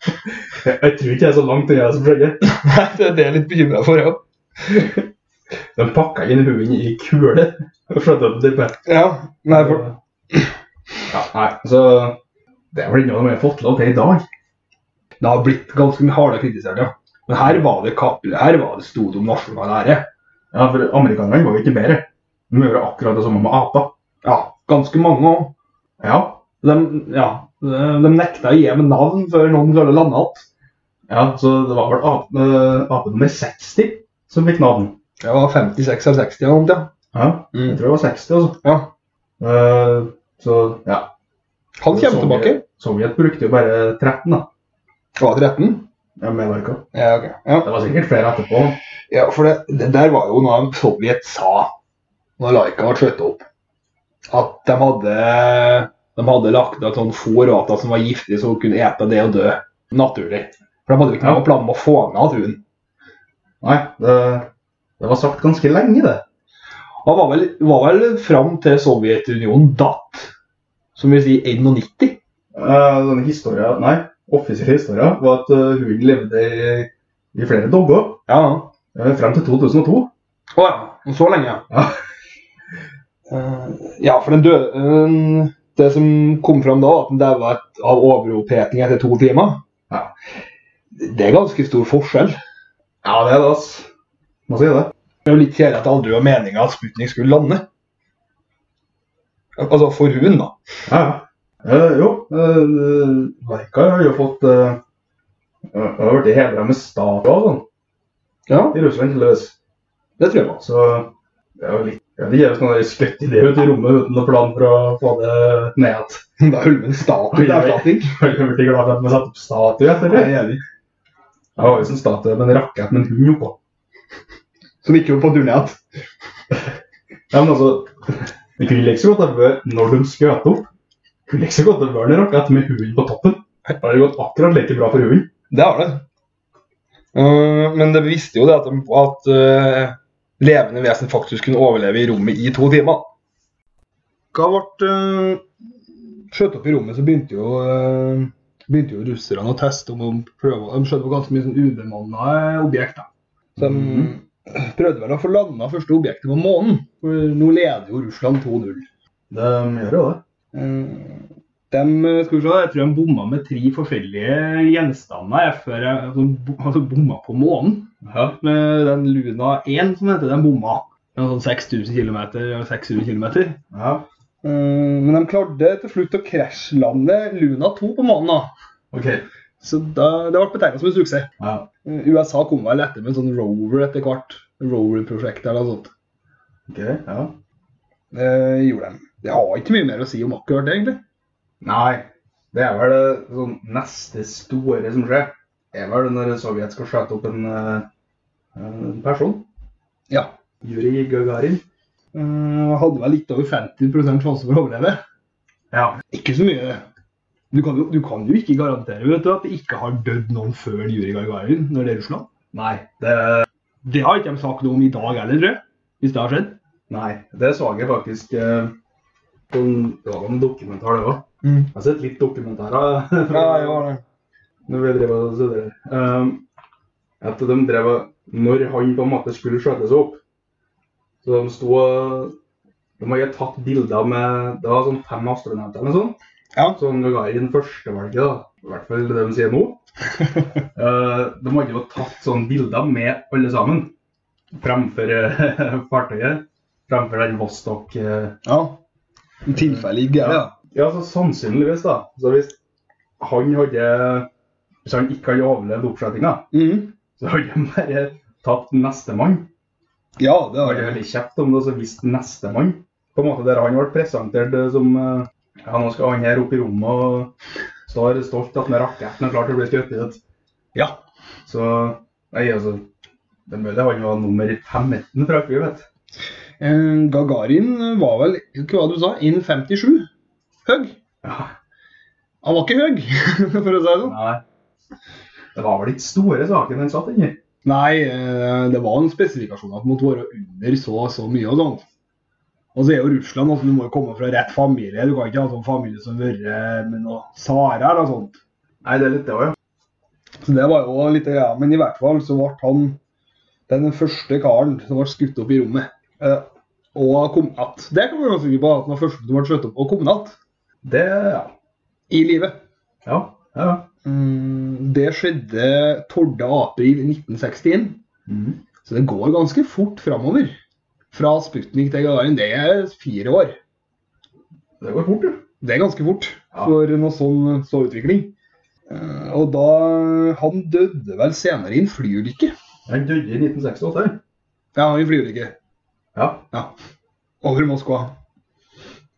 S3: jeg, jeg tror ikke jeg er så langt unna som skjedde.
S4: Nei, det er det jeg er litt bekymra for, ja.
S3: De pakka inn hunden i kule og skjøt opp tippet.
S4: ja. Nei, for...
S3: Ja, nei, så det er vel ikke noe de har fått lov til i dag.
S4: Det har blitt ganske mye hardere kritisert, ja. Men her var det, kap- her var det stort om nasjonal ære.
S3: Ja, for amerikanerne var jo ikke bedre. De gjorde akkurat det samme med aper.
S4: Ja, ganske mange òg.
S3: Ja,
S4: De, ja, de de nekta å gi dem navn før noen klarte å lande igjen.
S3: ja, så det var vel ape, eh, ape nummer 60 som fikk navn.
S4: Det var 56 eller 60 eller noe.
S3: Ja, jeg
S4: Mm.
S3: tror det var 60, altså.
S4: Ja.
S3: Eh, så, ja.
S4: Han kommer tilbake.
S3: Sovjet brukte jo bare 13, da.
S4: Var det 13?
S3: Ja, med Larka.
S4: Ja, ok. Ja.
S3: Det var sikkert flere etterpå.
S4: Ja, for det, det der var jo noe Sovjet sa når Laika ble skjøtet opp. At de hadde, de hadde lagt ut sånn fôr og alt som var giftig, så hun kunne ete det og dø naturlig. For de hadde jo ikke
S3: Ja.
S4: noen plan om å få ned hunden.
S3: Nei, det, det var sagt ganske lenge, det.
S4: Han var vel, var vel fram til Sovjetunionen datt, som vil si 91.
S3: Eh, Denne historien, nei, offisielle historien var at eh, hunden levde i, i flere dogger
S4: Ja.
S3: eh, frem til 2002.
S4: Å ja. om Så lenge, ja.
S3: Ja.
S4: Eh, ja, for den døde eh, Det som kom fram da, at den daua et- av overoppheting etter to timer.
S3: Ja.
S4: Det er ganske stor forskjell.
S3: Ja, det er det, ass. Må si det.
S4: Det er jo litt kjedelig at det aldri var meninga at Sputnik skulle lande. Altså for hun, da.
S3: Ja, ja. Eh, jo, uh, Leica har jo fått uh, Har blitt hedra med statue og sånn
S4: Ja,
S3: i Russland, heldigvis.
S4: det tror jeg var.
S3: Så det er jo litt ja, Det gir oss noen skøttidéer ut i rommet uten noen plan for å få det ned igjen.
S4: Da holder vi en statue til erstatning.
S3: Jeg er veldig glad for at vi satte opp statue etter det.
S4: Ja, det er vi.
S3: Det var jo en statue med en rakett med en hund oppå.
S4: Som ikke var på turné igjen.
S3: Ja, men altså Det kunne ikke så godt ha vært når de skjøt opp. Det kunne ikke så godt ha vært en rakett med hunden på toppen. Da hadde det gått akkurat like bra for hunden.
S4: Det har det. Eh, men det visste jo det at, de, at eh, levende vesen faktisk kunne overleve i rommet i to timer. Hva ble uh, skjøt opp i rommet, så begynte jo, eh, begynte jo russerne å teste om de prøver, De skjøt på ganske mye sånn ubemanna objekter. Så de prøvde vel å få landa første objektet på månen. For nå leder jo Russland 2-0.
S3: De gjør jo det.
S4: Eh, dem, eh, skal vi se, jeg tror de bomma med tre forskjellige gjenstander jeg, før jeg altså, bo- altså, bomma på månen. Med den Luna 1 som heter, den bomma. Den var Sånn 6000 km eller 600 km.
S3: Ja.
S4: Eh, men de klarte til slutt å krasjlande Luna 2 på månen. da.
S3: OK.
S4: Så da, det ble betegnet som en suksess.
S3: Ja.
S4: Eh, USA kom vel etter med en sånn rover etter hvert. Rover-prosjekt eller noe sånt.
S3: Ok, ja.
S4: Eh, gjorde de. Det har ikke mye mer å si om akkurat det, egentlig.
S3: Nei, det er vel det sånn, neste store som skjer. Det er vel når Sovjet skal skjøte opp en, eh, en person.
S4: Ja.
S3: Juri Gagarin.
S4: Eh, hadde vel litt over 50 sjanse for å overleve.
S3: Ja.
S4: Ikke så mye. Du kan, jo, du kan jo ikke garantere vet du, at det ikke har dødd noen før Juri Gagarin når det er Russland.
S3: Nei, det,
S4: Det har ikke de sagt noe om i dag heller, tror jeg. Hvis det har skjedd.
S3: nei, det så jeg faktisk eh, på en, Det var en dokumentar, det òg.
S4: Mm.
S3: Jeg har sett litt dokumentarer. fra-
S4: det.
S3: når vi drev og studerte. Um, at de drev og- Når han på en måte skulle skjøte seg opp, så de sto og De hadde tatt bilder med Det var sånn fem astronauter eller noe sånt.
S4: Ja.
S3: Sånn Gagarin førstevalget, da. I hvert fall det de sier nå. Eh, de hadde jo tatt sånne bilder med alle sammen fremfor eh, fartøyet. Fremfor den Vostok eh,
S4: Ja. I tilfelle ikke, ja.
S3: ja, så sannsynligvis, da. Så hvis han hadde Hvis han ikke hadde overlevd oppskjøtinga,
S4: Mhm.
S3: så hadde han bare tatt nestemann.
S4: Ja, det
S3: Det
S4: har
S3: hadde vært
S4: jeg.
S3: veldig kjekt om det så visste nestemann. På en måte der han ble presentert eh, som eh, Ja, nå skal han her opp i rommet og står stolt at med raketten er klar til å bli skutt. i det.
S4: Ja.
S3: Så Nei, altså Det er mulig han var nummer 15 fra FU, vet du.
S4: Eh, Gagarin var vel ikke hva du sa, 1,57 høy.
S3: Ja.
S4: Han var ikke høy, for å si det sånn.
S3: Nei. Det var vel ikke store saken han satt inni.
S4: Nei, eh, det var en spesifikasjon at det måtte være under så og så mye og sånt. Og så er jo Russland, altså du må jo komme fra rett familie. Du kan ikke ha en sånn familie som har vært med noe Sara eller sånt.
S3: Nei, det er litt det òg, ja.
S4: Så det var jo litt greia. Men i hvert fall så ble han den første karen som ble skutt opp i rommet. Eh, og kom att. Det kan vi være sikre på, at han var første som ble skutt opp og kom att
S3: Det, ja.
S4: i live.
S3: Ja, ja. ja.
S4: Mm, det skjedde 12.4.1961.
S3: Mhm.
S4: Så det går ganske fort framover. Fra Sputnik til Gagarin, det er fire år.
S3: Det går fort, jo.
S4: Det er ganske fort
S3: Ja.
S4: for noe sånn så utvikling. Eh, Og da Han døde vel senere i en flyulykke.
S3: Han døde i 1968. han.
S4: Ja, i en flyulykke.
S3: Ja.
S4: Ja. Over Moskva.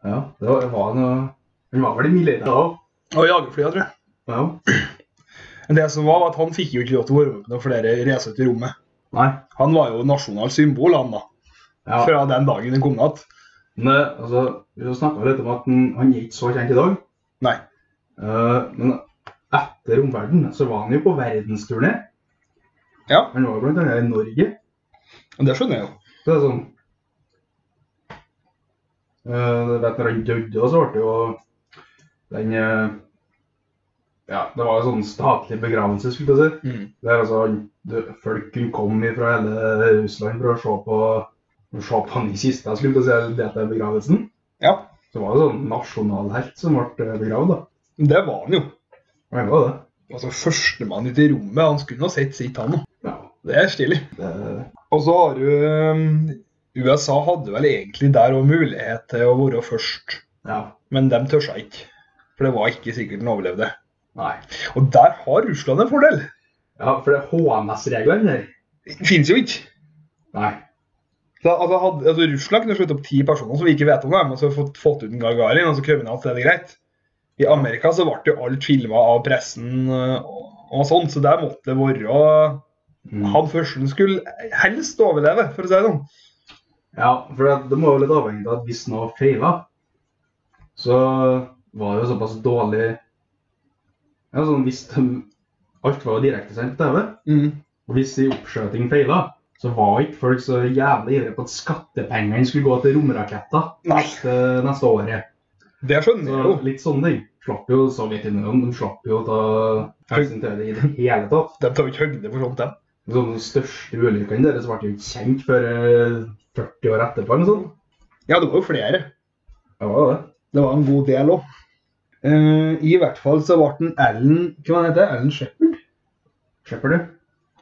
S3: ja. Det var, det var noe... Han var vel i militæret òg.
S4: Og jagerflya, tror jeg.
S3: Ja.
S4: Men det som var, var at han fikk jo ikke lov til å være med på noen flere reiser til rommet.
S3: Nei.
S4: Han var jo nasjonalt symbol, han da.
S3: Ja.
S4: Fra den dagen han kom igjen.
S3: Men eh, altså, vi snakka litt om at han, han er ikke så kjent i dag.
S4: Nei.
S3: Eh, men etter omverdenen så var han jo på verdensturné.
S4: Ja,
S3: Han var jo blant annet i Norge.
S4: og det skjønner jeg jo.
S3: Så det er sånn Eh, du vet, når han døde, så ble det jo den eh, Ja, det var jo sånn statlig begravelse, skulle jeg si.
S4: Mm.
S3: Det er altså, det- Folk kunne komme fra hele Russland for å se på, for å se på han i kista, skulle jeg til å si, det til begravelsen.
S4: Ja,
S3: Så var det sånn nasjonalhelt som ble begravd, da.
S4: det var han jo.
S3: Men det var det.
S4: Altså, Førstemann ut i rommet, han skulle nå sett sitt, han.
S3: Ja,
S4: Det er stilig.
S3: det,
S4: Og så har du ehm, USA hadde vel egentlig der òg mulighet til å være først,
S3: ja.
S4: men de tørsa ikke. For det var ikke sikkert den overlevde.
S3: Nei.
S4: Og der har Russland en fordel.
S3: Ja, for det er HMS-reglene der.
S4: Fins jo ikke.
S3: Nei.
S4: Så, altså, hadde, altså, Russland kunne slutte opp ti personer som vi ikke vet om, dem, og så fått, fått ut en Gargarin, og så kommet han til det greit. I Amerika så ble jo alt filma av pressen øh, og, og sånn, så der måtte det være
S3: Mm.
S4: Han første skulle helst overleve, for å si det sånn.
S3: Ja, for det, det må jo litt avhengig av at hvis noe feila, så var det jo såpass dårlig ja, sånn, Hvis de, alt var jo direktesendt på TV, Og hvis i oppskjøting feila, så var ikke folk så jævlig ivrige på at skattepengene skulle gå til romraketter
S4: Nei.
S3: neste, neste året.
S4: Det skjønner jeg
S3: Så
S4: jo.
S3: litt sånne ting. Slapp jo Sovjetunionen. De slapp jo å ta hensyn til det i det hele tatt.
S4: De tar jo ikke høyde for sånt, dem.
S3: Så de største ulykkene deres ble jo ikke kjent før eh, 40 år etterpå eller noe sånt.
S4: Ja, det var jo flere.
S3: Ja, det var det.
S4: Det var en god del òg. I hvert fall så ble den Ellen hva var det han heter? Ellen Shepherd
S3: Slipper du?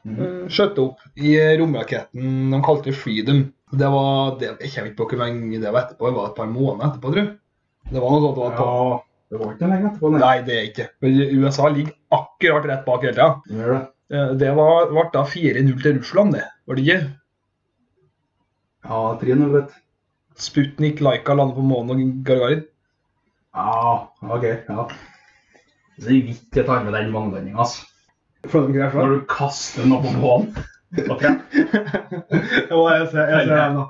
S4: eh, skjøt opp i romraketten de kalte Freedom. Det var, det, Jeg kommer ikke på hvor lenge det var etterpå, det var et par måneder etterpå, tror jeg. Det var noe sånt det var et par,
S3: Ja, Det var ikke noe lenge etterpå, nei.
S4: Nei, det er ikke. Men USA ligger akkurat rett bak hele tida.
S3: Det gjør det.
S4: Eh, Det var, ble da 4-0 til Russland, det. Var det ikke?
S3: Ja, 3-0, vet du.
S4: Sputnik, Laika lander på månen og Gargarin.
S3: Ja, OK. Ja. Så det er vidt jeg tar med den vannlandinga, altså.
S4: Føler du ikke det?
S3: Når du kaster noe på banen. Altså,
S4: Jo, jeg ser, jeg ser det nå.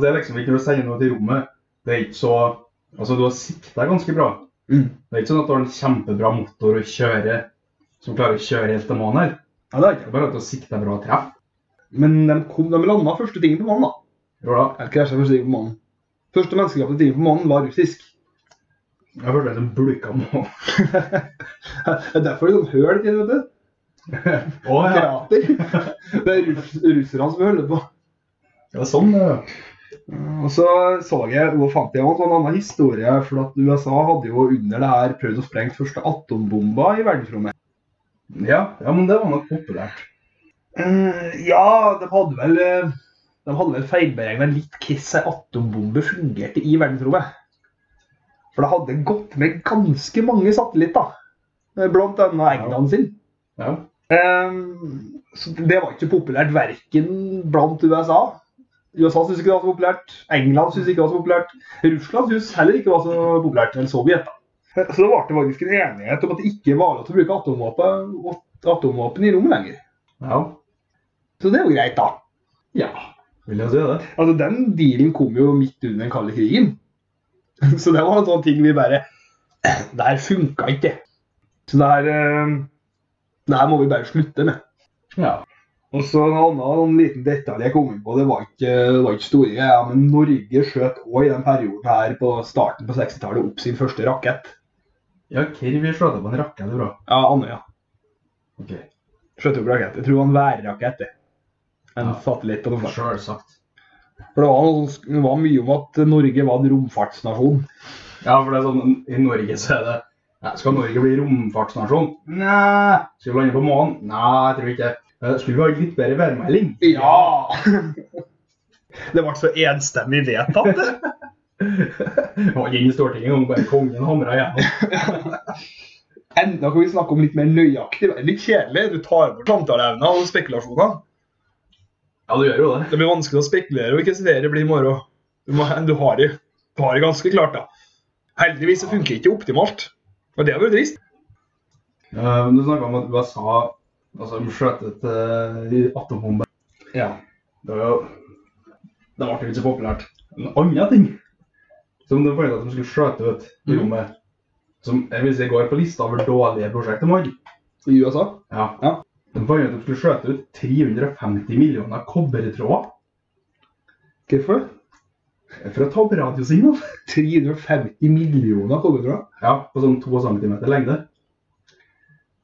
S3: det er liksom ikke når du sender noe til rommet. Det er ikke så Altså, du har sikta ganske bra.
S4: Mm.
S3: Det er ikke sånn at du har en kjempebra motor og kjører som klarer å kjøre helt til månen her.
S4: Ja, det er
S3: Det
S4: ikke.
S3: er bare at du sikter bra og treffer.
S4: Men de, kom, de landa første tingen på månen, da.
S3: Jo da.
S4: Eller krasja første tingen på månen. Første menneskeskapte tingen på månen var russisk.
S3: Jeg følte jeg som bulka nå.
S4: Det er derfor det er sånn høl til, vet du.
S3: Å ja.
S4: Krater. Det er russ, russerne som holder på.
S3: Det er sånn, det.
S4: Og så så jeg og fant jeg også en annen historie, for at USA hadde jo under det her prøvd å sprenge første atombomba i verdensrommet.
S3: Ja, ja, men det var nok populært.
S4: Eh, ja, de hadde vel eh, de hadde vel feilberegna litt hvordan ei atombombe fungerte i verdensrommet. For det hadde gått med ganske mange satellitter, eh, blant annet England sin.
S3: Ja.
S4: Ehm, så det var ikke populært verken blant USA. USA syntes ikke det var så populært. England syntes ikke det var så populært. Russland syntes heller ikke det var så populært. Eller Sovjet, da. Eh, Så det ble faktisk en enighet om at det ikke var lov til å bruke atomvåpen, atomvåpen i rommet lenger.
S3: Ja.
S4: Så det er jo greit, da.
S3: ja. Vil jeg si det?
S4: Altså, Den dealen kom jo midt under den kalde krigen. Så det var en sånn ting vi bare Det her funka ikke. Så det her, ehm, det her må vi bare slutte med.
S3: Ja.
S4: Og så en annen en liten detalj jeg kom inn på. Det var ikke, det var ikke store greier, men Norge skjøt òg i den perioden her på starten på 60-tallet opp sin første rakett.
S3: Ja, Kirvi slår deg på en rakett, bra.
S4: Ja, Andøya.
S3: Ok.
S4: Skjøt opp rakett. Jeg tror det var en værrakett. det. En
S3: Ja.
S4: satellitt på noe slag.
S3: Sjølsagt.
S4: For det var, noe, sånn- det var mye om at Norge var en romfartsnasjon.
S3: Ja, for det er sånn, i Norge så er det ja, Skal Norge bli romfartsnasjon? Nei. Skal vi lande på månen? Nei, jeg tror ikke det. Eh, Skulle vi ha litt bedre værmelding?
S4: det ble så enstemmig vedtatt.
S3: Og inn i Stortinget om bare kongen hamra igjennom.
S4: Enda kan vi snakke om litt mer nøyaktig. Litt kjedelig. Du tar bort samtaleevna og spekulasjoner.
S3: Ja, du gjør jo det.
S4: Det blir vanskelig å spekulere og ikke studere det blir i morgen. Du, må, du, har det, du har det ganske klart, da. Heldigvis så funker det ikke optimalt. Og det har vært trist.
S3: Eh, men du snakka om at USA altså, de skjøt et eh, atombombe.
S4: Ja.
S3: Det var jo Det ble jo ikke så populært. En annen ting som de fant ut at de skulle skjøte ut i
S4: Mhm.
S3: rommet, som jeg vil si går på lista over dårlige prosjekter de hadde
S4: I USA?
S3: Ja.
S4: Ja.
S3: De fant ut at de skulle skjøte ut 350 millioner kobbertråder
S4: Hvorfor?
S3: for å ta opp radiosignal.
S4: 350 millioner kommer fra.
S3: Ja, på sånn 2 cm lengde.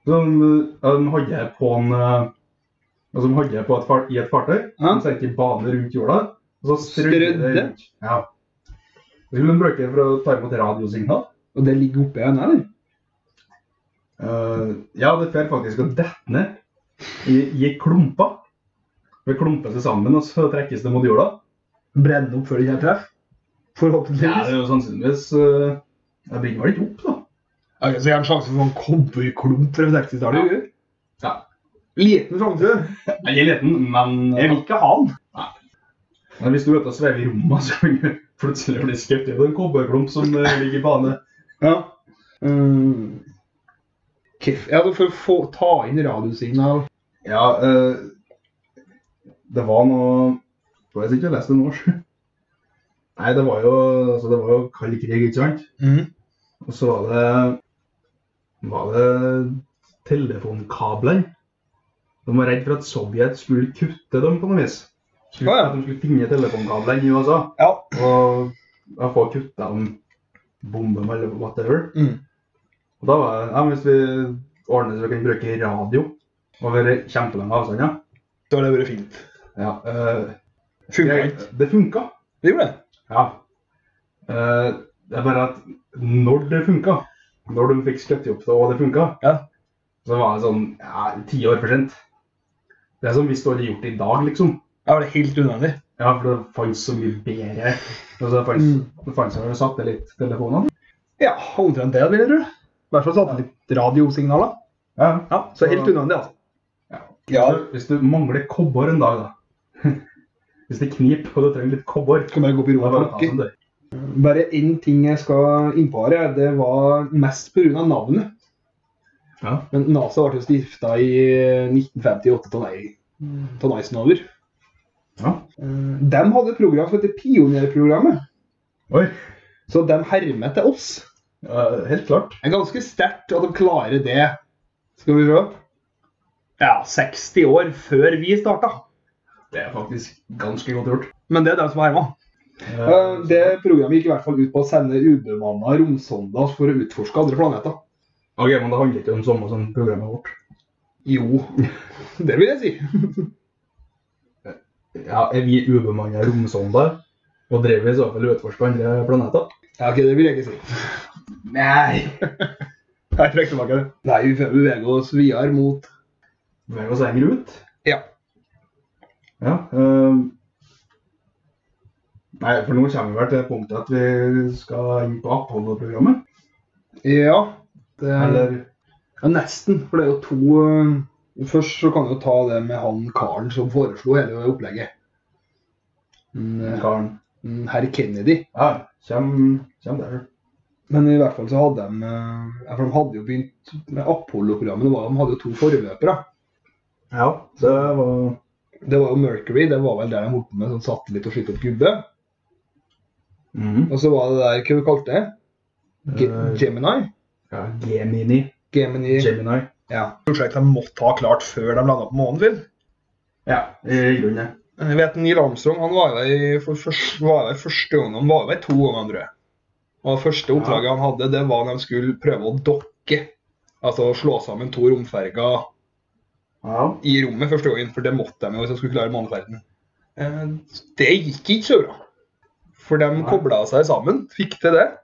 S3: Så De, de hadde på en eh, altså de hadde på et far, i et fartøy.
S4: Ja.
S3: De sendte i bane rundt jorda. Og så strødde det
S4: Strødde?
S3: rundt. Ja. Det skulle de bruke for å ta imot radiosignal.
S4: Og det ligger oppe igjen, eller?
S3: Eh, ja, det fer faktisk å dette ned i, i klumper. Det klumper seg sammen, og så trekkes det mot jorda.
S4: Brenne opp før det kommer treff?
S3: Ja,
S4: Forhåpentligvis.
S3: det er jo sannsynligvis eh, Det brenner vel ikke opp, da?
S4: Ok, så jeg har en sjanse for en kobberklump fra 60-tallet? gjør jeg?
S3: Ja.
S4: Liten sjanse.
S3: Jeg er liten, men eh,
S4: Jeg vil ikke ha den.
S3: Men hvis du vet å sveve i rommet, så kan du plutselig bli skeptisk til en kobberklump som eh, ligger i bane.
S4: Ja. Mm. Kiff. Ja, for å få, ta inn radiosignal
S3: Ja, eh, det var noe Jeg vet ikke, jeg leste det nå. sju. Nei, det var jo, altså, det var jo kald krig, ikke sant?
S4: Mm.
S3: Og så var det, var det telefonkablene. De var redd for at Sovjet skulle kutte dem på noe vis. Skulle,
S4: Å, ja.
S3: At de skulle finne telefonkablene i USA.
S4: Ja.
S3: Og jeg får kutta dem, bombe dem eller whatever.
S4: Mm.
S3: Og da var det, ja, men hvis vi ordner så vi kan bruke radio over kjempelange avstander.
S4: Da har det vært fint.
S3: Ja, eh,
S4: Funka
S3: jeg-
S4: ikke.
S3: det funka.
S4: Det gjorde det.
S3: Ja. Eh, det er bare at når det funka, når de fikk støtte opp det og det funka,
S4: Ja.
S3: så var det sånn ja, ti år for sent. Det er som hvis du hadde gjort det i dag, liksom.
S4: Jeg var det helt unødvendig.
S3: Ja,
S4: Mm.
S3: for det fantes så mye bedre. Altså, det fantes, det fantes jo satellittelefoner.
S4: Ja, omtrent det, vil jeg tro. I hvert fall satt litt radiosignaler.
S3: Ja.
S4: Ja, så helt unna det, altså. Ja,
S3: Hvis du- Hvis du mangler kobber en dag, da Hvis det kniper og du trenger litt kobber
S4: kan bare gå på
S3: da
S4: rommet
S3: bare
S4: og
S3: ta
S4: plukke.
S3: som dør.
S4: Bare én ting jeg skal innpå her, ja, det var mest pga. navnet.
S3: Ja.
S4: Men NASA ble jo stifta i 1958 av Nei- av Eisenhower.
S3: ja.
S4: Eh, De hadde et program som heter Pionerprogrammet,
S3: Oi.
S4: så de hermet til oss.
S3: Ja, helt klart.
S4: Det er ganske sterkt at de klarer det. Skal vi se Ja, 60 år før vi starta.
S3: Det er faktisk ganske godt gjort.
S4: Men det er de som herma. Eh, Det programmet gikk i hvert fall ut på å sende ubemanna romsonder for å utforske andre planeter.
S3: Ok, men det handler ikke om samme som programmet vårt.
S4: Jo, det vil jeg si.
S3: Ja, Er vi ubemanna romsonder? Og drev vi i så fall og utforska andre planeter?
S4: Ja, ok, det vil jeg ikke si.
S3: Nei!
S4: Jeg trekker tilbake det. Nei, vi får bevege oss videre mot
S3: Beveger oss lenger ut?
S4: Ja.
S3: Ja. ehm. nei, for nå kommer vi vel til punktet at vi skal inn på Apollo-programmet.
S4: Ja. Det er,
S3: Eller
S4: ja, nesten. For det er jo to eh, Først så kan vi jo ta det med han karen som foreslo hele opplegget.
S3: Mm,
S4: En, eh,
S3: karen.
S4: en Herr Kennedy.
S3: Ja, kjem, kjem der.
S4: Men i hvert fall så hadde de eh, ja, For de hadde jo begynt med Apollo-programmet. det var- De hadde jo to forløpere.
S3: Ja, det var
S4: Det var jo Mercury. Det var vel der de holdt på med sånn satellitt og skyte opp gubbe.
S3: Mhm.
S4: Og så var det der Hva vi kalte det? Ge
S3: Eh,
S4: Gemini?
S3: ja, Gemini.
S4: Gemini.
S3: Gemini.
S4: Ja. Prosjektet de måtte ha klart før de landa på månen, Phil.
S3: Ja, i grunnen.
S4: Jeg Eh, vet Neil Armstrong han var der for, først- var der første gangen, han var der to ganger, tror jeg. Og første oppdraget han hadde, det var når de skulle prøve å dokke. Altså slå sammen to romferger
S3: Ja.
S4: i rommet første gangen, for det måtte de jo hvis de skulle klare måneferden. Eh, Det gikk ikke så bra. For de
S3: Nei.
S4: kobla seg sammen, fikk til det,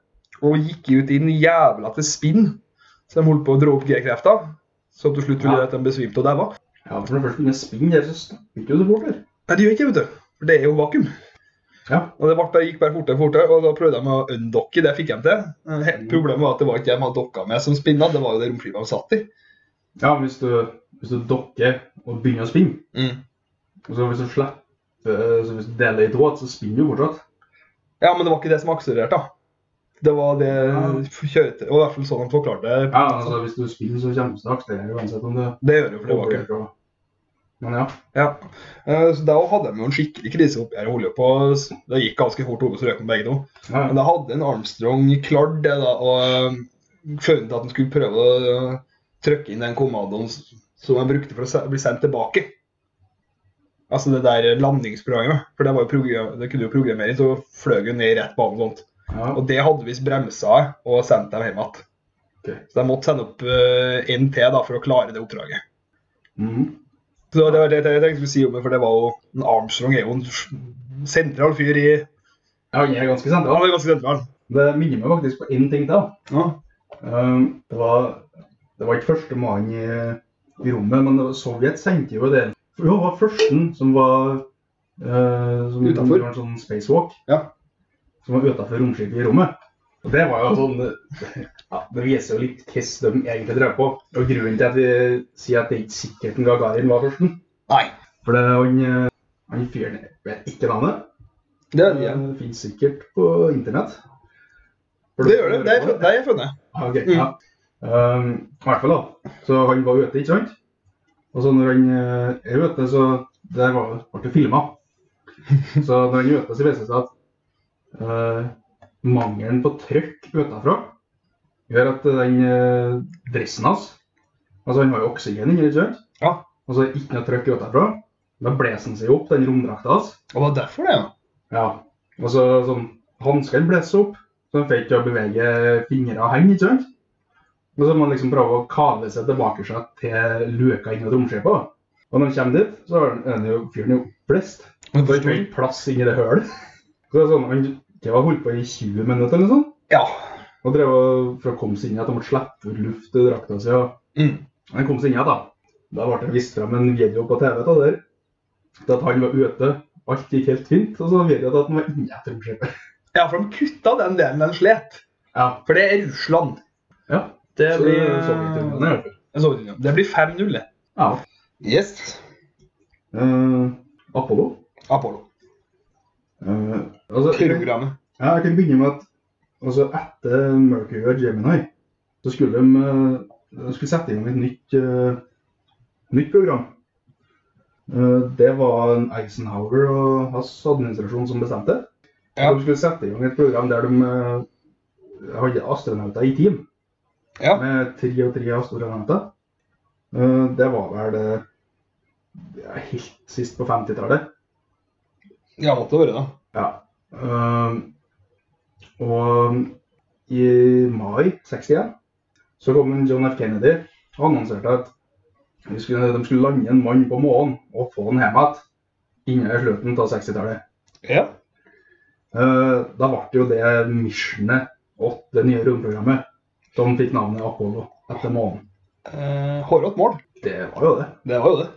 S4: og gikk ut i en jævla til spinn. Så de holdt på å dra opp G-krefta, så til slutt ville
S3: Ja.
S4: det at de besvimte og daua.
S3: ja, for når det først begynner å spinne her, så stopper ikke du så fort her.
S4: Nei, det gjør ikke, vet du. For det er jo vakuum.
S3: Ja.
S4: Og det ble bare, gikk bare fortere og fortere, og da prøvde de å undokke, det fikk de til. Eh,
S3: Mm.
S4: Problemet var at det var ikke dem han dokka med som spinna, det var jo det romflyet de satt i.
S3: ja, hvis du, hvis du dokker og begynner å spinne, og så hvis du slipper, eh, så hvis du deler i to, så spinner du fortsatt.
S4: Ja, men det var ikke det som akselererte, da. Det var det kjøretøyet Og i hvert fall sånn de forklarte det.
S3: Ja, altså hvis du spinner, så kommer du til å akselerere uansett om du
S4: Det gjør det, for det var ikke
S3: overlever. Men ja.
S4: ja. Eh, Så Da hadde de jo en skikkelig krise oppi her. og holdt jo på. Det gikk ganske fort over, så røk de begge to.
S3: ja.
S4: Men da hadde en Armstrong klart det, da, og eh, funnet at han skulle prøve å eh, trykke inn den kommandoen s- som han brukte for å se- bli sendt tilbake. Altså det der landingsprogrammet. For det, var jo program, det kunne jo programmere, så fløy han ned i rett bane og sånt.
S3: ja.
S4: Og det hadde visst bremsa og sendt dem hjem igjen.
S3: Ok.
S4: Så de måtte sende opp eh, en til da, for å klare det oppdraget.
S3: Mhm.
S4: Så det var det jeg tenkte jeg skulle si om det, for det var jo en Armstrong er jo en s- sentral fyr i
S3: ja, den er ganske
S4: Ja, han
S3: sentral.
S4: er ganske sentral.
S3: Det minner meg faktisk på én ting til. Um, det, var, det var ikke første mann i, i rommet, men det var- Sovjet sendte jo det. For Hun var førsten som var eh, som
S4: Utenfor.
S3: gjorde en sånn spacewalk.
S4: Ja.
S3: Som var utenfor romskipet i rommet. Og det var jo sånn ja, Det viser jo litt hvordan de egentlig drev på. Og grunnen til at vi sier at det ikke er sikkert en Gagarin var førsten.
S4: Nei.
S3: For det, han, eh, han fyren jeg vet ikke navnet.
S4: Det,
S3: Det
S4: ja.
S3: finnes sikkert på internett.
S4: det gjør det. Det er fun- det er funnet.
S3: Ah, ok, ja. Um, I hvert fall, da. Så han var ute, ikke sant? Og så når han eh, er ute, så Der var, ble det filma. Så når han er ute, så viser det seg at eh, mangelen på trykk utenfra gjør at den eh, dressen hans Altså, han har jo oksygen inni, ikke sant?
S4: Ja.
S3: Og så er det ikke noe trykk utenfra. Da blåser han seg opp, den romdrakta hans.
S4: Og det var derfor det, ja.
S3: Ja. Og så sånn, hanskene blåser opp, så han får ikke til å bevege fingre og hender, ikke sant? Og så må han liksom prøve å kave seg tilbake seg til luka inni romskipet. da. Og når han kommer dit, så er han er jo fyren jo blest.
S4: Men
S3: Det er ikke plass inni det hølet. Så det er sånn, han det var holdt på i 20 minutter eller noe sånt.
S4: Ja.
S3: Og drev og- for å komme seg inn igjen, at han måtte slippe ut luft i drakta si. og
S4: Mm.
S3: han kom seg inn igjen, da. Da ble det vist frem en video på TV av der. Til at han var ute. Alt gikk helt fint. Og så var videoen til at han var inne etter romskipet.
S4: ja, for de kutta den delen den slet.
S3: Ja.
S4: For det er Russland.
S3: ja.
S4: Det
S3: Så
S4: blir
S3: Sovjetunionen, i hvert fall.
S4: Sovjetunionen. Det blir 5-0.
S3: Ja.
S4: Eh, Yes.
S3: Eh, Apollo.
S4: Apollo.
S3: Eh, altså,
S4: Programmet.
S3: Ja, jeg kan begynne med at altså etter Mercury og Gemini, så skulle de, eh, de skulle sette i gang et nytt, eh, nytt program. Eh, Det var en Eisenhower og hans administrasjon som bestemte.
S4: Ja.
S3: De skulle sette i gang et program der de eh, hadde astronauter i team.
S4: Ja.
S3: Med tre og tre astronauter. Eh, Det var vel eh, ja, helt sist på 50-tallet.
S4: Ja, måtte være det.
S3: Ja. Ehm, og i mai 61 så kom en John F. Kennedy og annonserte at vi skulle, de skulle lande en mann på månen og få han hjem igjen innen slutten av 60-tallet.
S4: Ja.
S3: Eh, da ble jo det missionet åt det nye romprogrammet som fikk navnet Apollo etter månen.
S4: Eh, Hårete mål.
S3: Det var jo det.
S4: Det var jo det.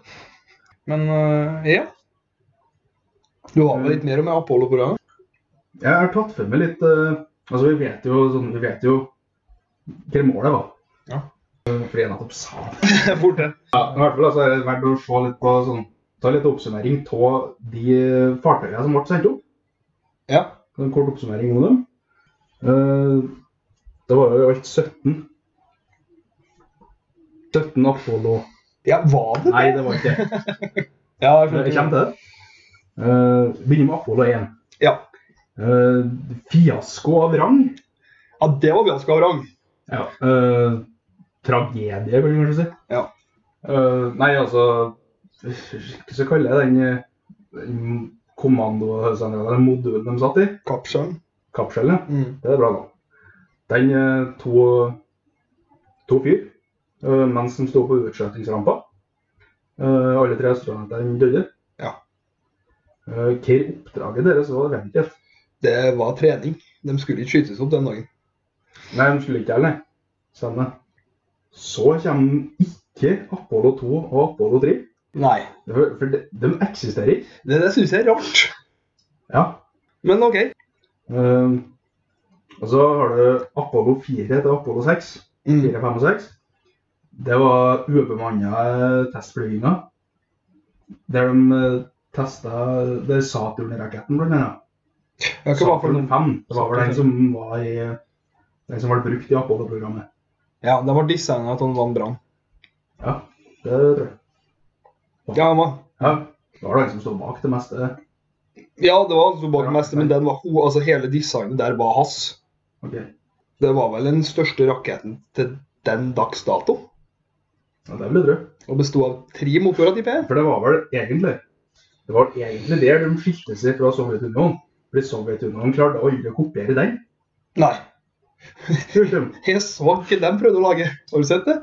S4: Men eh, ja. Du har vel litt mer om Apollo-programmet?
S3: Jeg har tatt for meg litt eh, Altså, vi vet jo, sånn, vi vet jo hva målet var.
S4: Ja.
S3: Eh, Fordi jeg nettopp sa det.
S4: Fort det.
S3: I hvert fall altså, er det verdt å se litt på sånn, ta litt oppsummering av de eh, fartøyene som ble sendt opp.
S4: Ja.
S3: En kort oppsummering av dem. Eh, det var jo i alt 17. 17 Apollo
S4: ja, var det
S3: Nei, det var ikke det.
S4: Ja, jeg
S3: Jeg
S4: skjønner.
S3: kommer til det. Eh, begynner med Apollo 1.
S4: Ja.
S3: Eh, fiasko av rang.
S4: ja, det var ganske vrang.
S3: Ja. Eh, tragedie, vil jeg kanskje si.
S4: Ja.
S3: Eh, nei, altså Hva skal jeg kalle det, den, eh, den kommandosentralen, den modulen de satt i?
S4: Kapselen.
S3: Kapselen.
S4: Mm.
S3: Det er bra, da. Den eh, to, to fyr eh, mens de sto på utskjøtingsrampa. Eh, alle tre astronautene døde.
S4: Ja.
S3: Eh, hva oppdraget deres var, vet jeg ikke.
S4: Det var trening. De skulle ikke skytes opp den dagen.
S3: Nei, de skulle ikke heller. Stemmer. Så kommer ikke Apollo 2 og Apollo 3.
S4: Nei.
S3: For, for de, de eksisterer ikke.
S4: Det, det syns jeg er rart.
S3: Ja.
S4: Men OK.
S3: Eh, og så har du Apollo 4 til Apollo 6.
S4: Mm.
S3: 4, 5 og 6. Det var ubemanna testflyginger. Der de eh, testa det er Saturn-raketten, blant annet.
S4: Jeg kan bare få
S3: Saturn
S4: noen.
S3: 5. Det var vel den som
S4: Saturn.
S3: var i den som ble brukt i Apollo-programmet.
S4: Ja, det var designet til Van Brann.
S3: Ja, det tror jeg.
S4: Ja, han var-
S3: Ja. Det var den som sto bak det meste.
S4: ja, det var han som bak mest, men den var ho, altså hele designet der var hans.
S3: Ok,
S4: Det var vel den største raketten til den dags dato.
S3: ja, Det vil jeg tro.
S4: Og besto av tre motorer, tipper jeg.
S3: For det var vel egentlig det var egentlig der de skilte seg fra Sovjetunionen. Fordi Sovjetunionen klarte aldri å kopiere den.
S4: Nei,
S3: Kult, de.
S4: jeg så ikke den prøvde å lage. Har du sett det?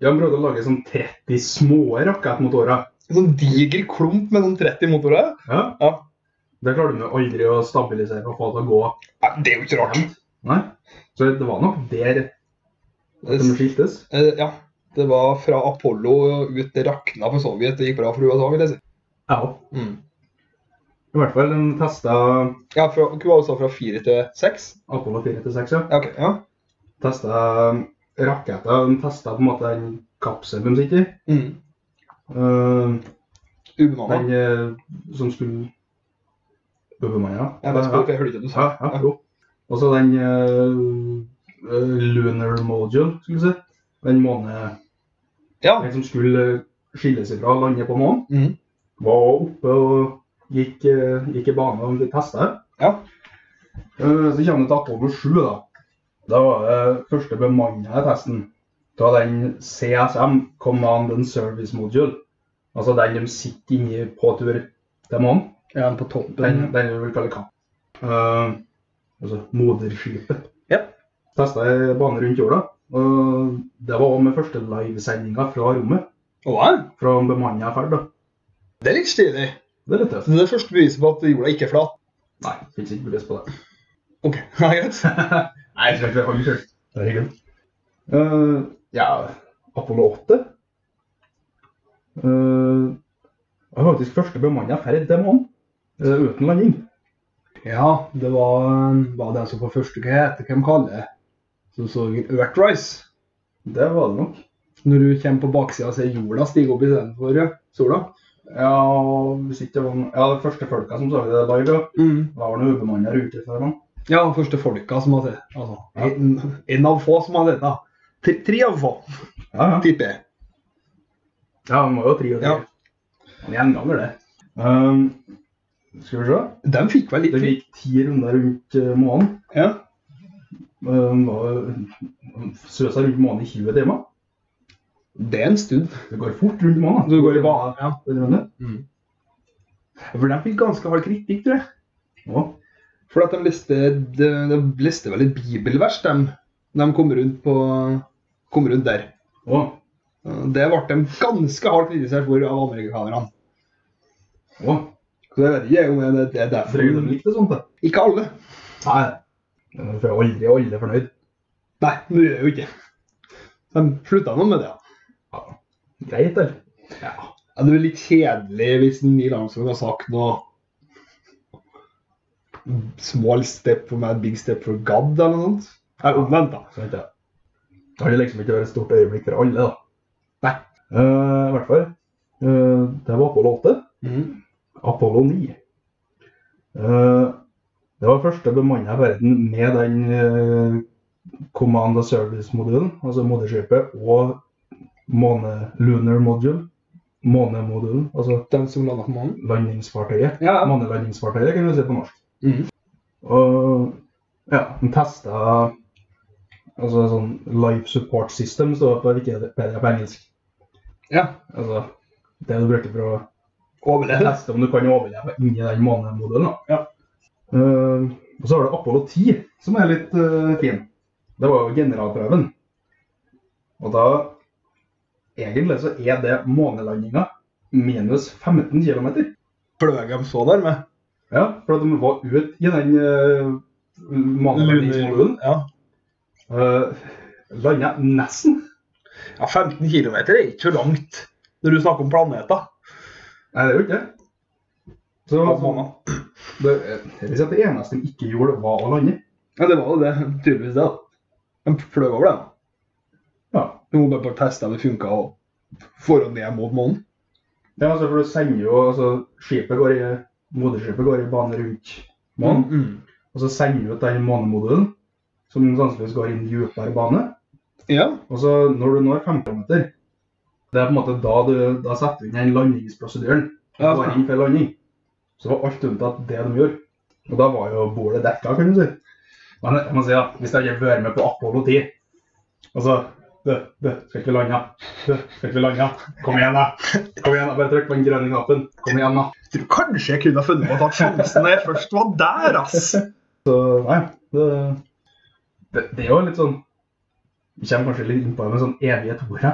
S3: De prøvde å lage sånn 30 små rakettmotorer.
S4: En sånn diger klump med sånn 30 motorer.
S3: Ja.
S4: Ja.
S3: Det klarte de jo aldri å stabilisere og få til å gå.
S4: Nei, det er jo ikke rart.
S3: Nei. Så det var nok der at de skiltes.
S4: Eh, ja, det var fra Apollo og ut det rakna for Sovjet. Det gikk bra for USA, vil jeg si.
S3: Ja.
S4: Mm.
S3: I hvert fall de testa
S4: Ja, fra, hva sa du, fra fire til seks?
S3: Apollo 4 til 6, ja.
S4: Ja, ok, ja.
S3: Testa raketter. De testa på en måte den kapselen de sitter i.
S4: Mm.
S3: Eh,
S4: Ubemanna.
S3: Den eh, som skulle Ubemann, ja.
S4: Jeg vet ikke, for jeg hørte ikke det du sa.
S3: Ja, ja, jo. Og så den eh, eh, Lunar Module, skulle vi si. Den måne...
S4: Ja.
S3: Den som skulle eh, skille seg fra og lande på månen,
S4: Mm.
S3: var oppe og gikk, eh, gikk i bane og testa.
S4: Ja.
S3: så kommer det til Apollo 7, da. Da var det første bemanna testen. Da den CSM, Command and Service Module, altså den de sitter inni på tur til månen.
S4: ja, på toppen.
S3: Den, den vi vil kalle Kapp. Eh, altså moderskipet.
S4: Ja.
S3: Testa ei bane rundt jorda. og det var også med første livesendinga fra rommet.
S4: Å, ja.
S3: Fra en bemanna ferd. da.
S4: Det er litt stilig.
S3: Det er litt
S4: Så
S3: tøft.
S4: det er første beviset på at jorda ikke er flat.
S3: Nei, fins ikke bevis på det.
S4: Ok, ja, greit.
S3: Nei, jeg tror ikke vi holder sjøl. Herregud. Uh, ja, Apollo 8. Eh, det var faktisk første bemanna ferd til månen eh, uten landing.
S4: Ja, det var, um, var den som på første Hva heter hvem kaller det? Som så Earthrise.
S3: Det var det nok.
S4: Når du kommer på baksida og ser jorda stige opp istedenfor ja, uh, sola.
S3: Ja, hvis ikke det var noe- Ja, det første folka som så det live, ja.
S4: Mm.
S3: Det var noen ubemanna ruter før. da.
S4: Ja, de første folka som hadde altså,
S3: Ja.
S4: en, en av få som hadde dette. Tre, tre av få,
S3: Ja, ja.
S4: tipper jeg.
S3: Ja, han var jo tre og tre.
S4: Ja.
S3: Han er en gammel, det. Ehm, skal vi se.
S4: De fikk vel litt
S3: Det gikk ti runder rundt eh, månen.
S4: Ja.
S3: Um, ehm, Søsa rundt månen i 20 timer.
S4: Det er en stund.
S3: Det går fort rundt månen.
S4: Du går i bane. Ja.
S3: banen.
S4: Mm. For de fikk ganske hard kritikk, tror jeg.
S3: Ja.
S4: For at de leste, de, de leste vel et bibelvers, de, de kom, rundt på, kom rundt der.
S3: Ja.
S4: Det ble de ganske hardt kritisert for av amerikanerne.
S3: Ja.
S4: Så jeg vet ikke om det det er derfor
S3: Tror de likte sånt, det.
S4: Ikke alle.
S3: Nei. For jeg er aldri, aldri fornøyd.
S4: Nei, det gjør jo ikke. De slutta nå med det.
S3: Greit, eller?
S4: Ja. Det er litt kjedelig hvis Neil Armstrong har sagt noe Small step for meg, big step for God, eller noe sånt. Eller omvendt, da.
S3: Så vet jeg. Det har liksom ikke vært et stort øyeblikk for alle, da.
S4: Nei.
S3: Eh, I hvert fall. eh, det var Apollo 8.
S4: Mm.
S3: Apollo 9. Eh, det var første bemanna verden med den eh, Command and Service-modulen, altså moderskipet, og måne, Lunar Module, månemodulen, altså
S4: Den som landa på månen?
S3: landingsfartøyet.
S4: Ja.
S3: Månelandingsfartøyet kan du si på norsk.
S4: Mhm.
S3: Og ja, de testa altså sånn Life Support System står det på Wikipedia på engelsk.
S4: ja.
S3: Altså det du bruker for å
S4: Overlevd.
S3: teste om du kan overleve inni den månemodellen. da.
S4: Ja.
S3: Eh, og så har du Apollo 10, som er litt eh, fin. Det var jo generalprøven. Og da Egentlig så er det månelandinga minus 15 km.
S4: Fløy de så der med?
S3: Ja, for at de var ute i den uh, månelandingsmodulen.
S4: Ja.
S3: Uh, Landa nesten.
S4: ja, 15 km er ikke så langt når du snakker om planeter.
S3: Nei, det er jo ikke det. Så
S4: På månen.
S3: det, eh, det, vil si at det eneste de ikke gjorde, var å lande.
S4: Ja, det var jo det. Tydeligvis det. da. De fløy over det. da.
S3: Ja,
S4: Du må bare teste om det funka og få det ned mot månen.
S3: Ja, altså, for du sender jo altså, skipet går i, Moderskipet går i bane rundt månen,
S4: Mm.
S3: og så sender du ut den månemodulen, som sannsynligvis går i en dypere bane.
S4: Ja.
S3: Og så Altså, når du når 5 km, det er på en måte da du da setter du inn den landingsprosedyren. Du
S4: Ja,
S3: går
S4: sånn.
S3: inn for landing. Så var alt unntatt det de gjorde. Og da var jo bordet dekka, kan du si. Men jeg må si, da, hvis jeg ikke vært med på Apollo 10 Altså Bø, bø, skal ikke vi lande? Bø, skal ikke vi lande? Kom igjen, da. Kom igjen, da. Bare trykk på den grønne knappen. Kom igjen, da.
S4: Jeg tror kanskje jeg kunne ha funnet på å ta sjansen når jeg først var der, ass.
S3: Så nei, det, det, det er jo litt sånn Vi kommer kanskje litt innpå det med sånn evige toere.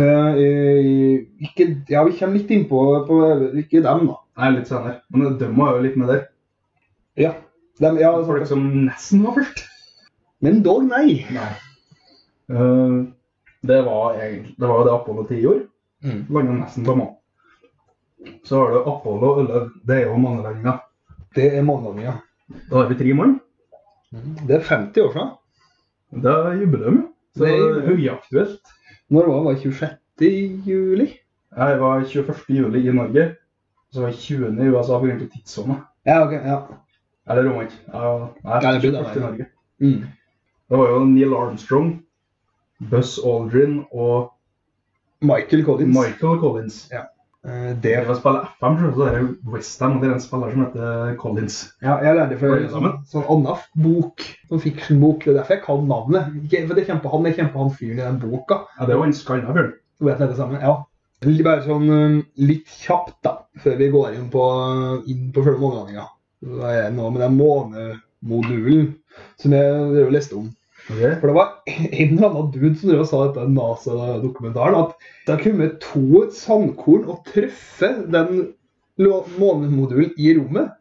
S4: Eh, ikke, ja, vi kommer litt innpå på Ikke dem, da.
S3: Nei, litt senere. Men de var jo litt med der.
S4: Ja. Dem, ja altså.
S3: Det var folk som nesten var først.
S4: Men dog, nei.
S3: Nei. Eh, det var egentlig Det var jo det Apollo 10 gjorde.
S4: Mm.
S3: Landa nesten på månen. Så har du Apollo 11. Det er jo månelandinga.
S4: Det er månelandinga.
S3: Da har vi tre mann.
S4: Det er 50 år siden.
S3: Det er jubileum. Så
S4: Det
S3: det
S4: er
S3: er
S4: jubileum.
S3: høyaktuelt.
S4: Når var det? 26. juli?
S3: Jeg var 21. juli i Norge. Så var jeg 20. i USA pga. tidssone.
S4: Ja, ok. Ja.
S3: Eller om ikke. Ja, Nei,
S4: Ja, det blir det,
S3: 21. i
S4: nei.
S3: Norge.
S4: Mm.
S3: Det var jo Neil Armstrong, Buzz Aldrin og
S4: Michael Collins.
S3: Michael Collins.
S4: Eh,
S3: Det
S4: det
S3: er å spille FM, så det er Westham, og det er en spiller som heter Collins.
S4: Ja, jeg lærte fra
S3: Var det
S4: en sånn,
S3: sammen?
S4: sånn annen bok, sånn fiksjonbok. Det er derfor jeg kan navnet. Ikke- For det kjemper han, jeg kjemper han fyren i den boka.
S3: Ja, det var en skalla bjørn.
S4: Så vet jeg det samme, ja. Litt- Bare sånn um, litt kjapt, da, før vi går inn på, uh, inn på selve månelandinga. Så er det noe med den månemodulen som jeg drev og leste om.
S3: Ok.
S4: For det var en eller annen dude som drev og sa i denne NASA-dokumentaren at det har kommet to sandkorn og truffet den lo- månemodulen i rommet.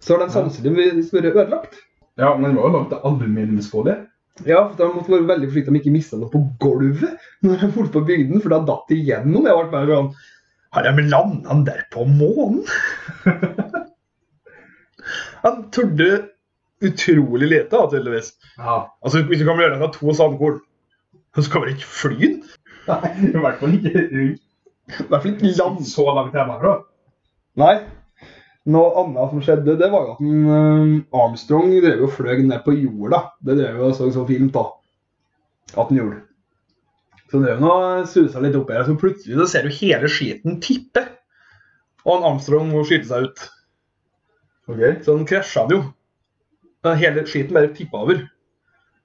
S4: Så har den
S3: Ja.
S4: sannsynligvis vært ødelagt.
S3: Ja, men den var jo langt av aluminiumsfolie.
S4: Ja, for da måtte være veldig forsiktig om ikke mista noe på gulvet når jeg holdt på å bygge den, for da datt det igjennom. Jeg ble bare sånn Har de landa den der på månen?
S5: Han turde utrolig lite, da, tydeligvis.
S3: Ja.
S5: Altså, Hvis du kan gjøre noe av to sandkorn, så skal vel ikke fly den?
S3: Nei, i hvert fall ikke rundt
S5: I hvert fall ikke land.
S3: så langt hjemmefra.
S4: Nei. Noe annet som skjedde, det var jo at den,
S5: mm,
S4: eh, Armstrong drev og fløy ned på jorda. Det drev jo og så så fint, da. At den gjorde.
S5: Så drev han og susa litt opp her, så plutselig så ser du hele skiten tippe. Og han Armstrong må skyte seg ut.
S3: Ok.
S5: Så han krasja han jo. Men Hele skiten bare tippa over.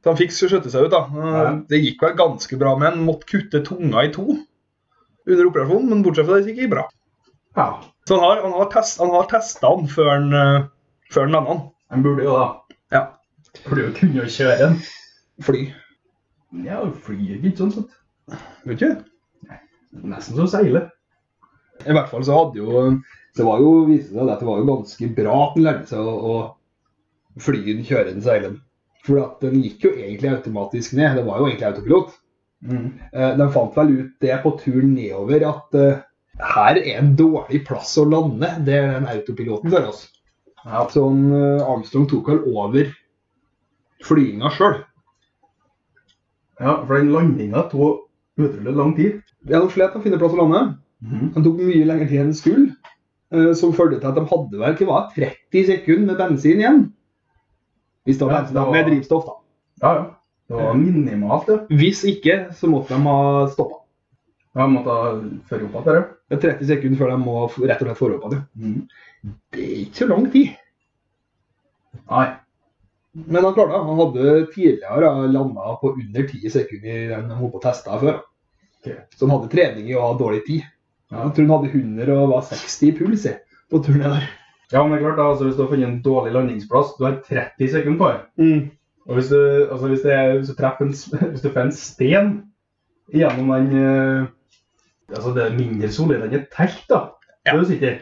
S5: Så han fikk skjøtte seg ut, da. Eh, Det gikk vel ganske bra med han. Måtte kutte tunga i to under operasjonen, men bortsett fra det gikk det bra.
S3: Ja.
S5: Så han har, han har, test, han har testa han før han, eh, før han landa han.
S3: En burde jo da.
S5: Ja.
S3: Burde jo kunne å kjøre en.
S4: Fly.
S3: Ja, du flyr ikke sånn sett.
S4: Vet du?
S3: Nesten som å seile.
S4: I hvert fall så hadde jo Det var jo, viste seg det at det var jo ganske bra at den lærte seg å, å fly den kjørende seilen. For at den gikk jo egentlig automatisk ned. Det var jo egentlig autopilot.
S3: Mm.
S4: Eh, De fant vel ut det på turen nedover at eh, her er en dårlig plass å lande. Det er den autopiloten for oss.
S3: Ja.
S4: Så han, eh, Armstrong tok vel over flyginga sjøl.
S3: ja, for den landinga tok utrolig lang tid.
S4: Ja, de slet med å finne plass å lande.
S3: Mm.
S4: Han tok mye lenger tid enn det skulle, eh, som førte til at de hadde vel ikke hva, 30 sekunder med bensin igjen. Hvis da
S3: Ja,
S4: bensin da,
S3: det var-
S4: med drivstoff, da.
S3: Ja, ja. Det var minimalt, ja.
S4: Hvis ikke, så måtte de ha stoppa.
S3: Jeg måtte føre opp igjen dette.
S4: Det er 30 sekunder før de må f- rett og slett få opp av det.
S3: Mhm.
S4: Det er ikke så lang tid.
S3: Nei.
S4: Men han klarte det. Han hadde tidligere landa på under 10 sekunder enn han holdt på å teste før.
S3: Ok.
S4: Så han hadde trening i å ha dårlig tid.
S3: Ja.
S4: Jeg tror han hadde 100 og var 60 i puls jeg, på turen der.
S3: Ja, men det er klart, da, altså, hvis du har funnet en dårlig landingsplass, du har 30 sekunder på det. Og hvis du, altså, hvis det er, hvis du treffer en, s- hvis du får en sten gjennom den eh, Altså, det er mindre solid enn et telt, da. Det er du sikker.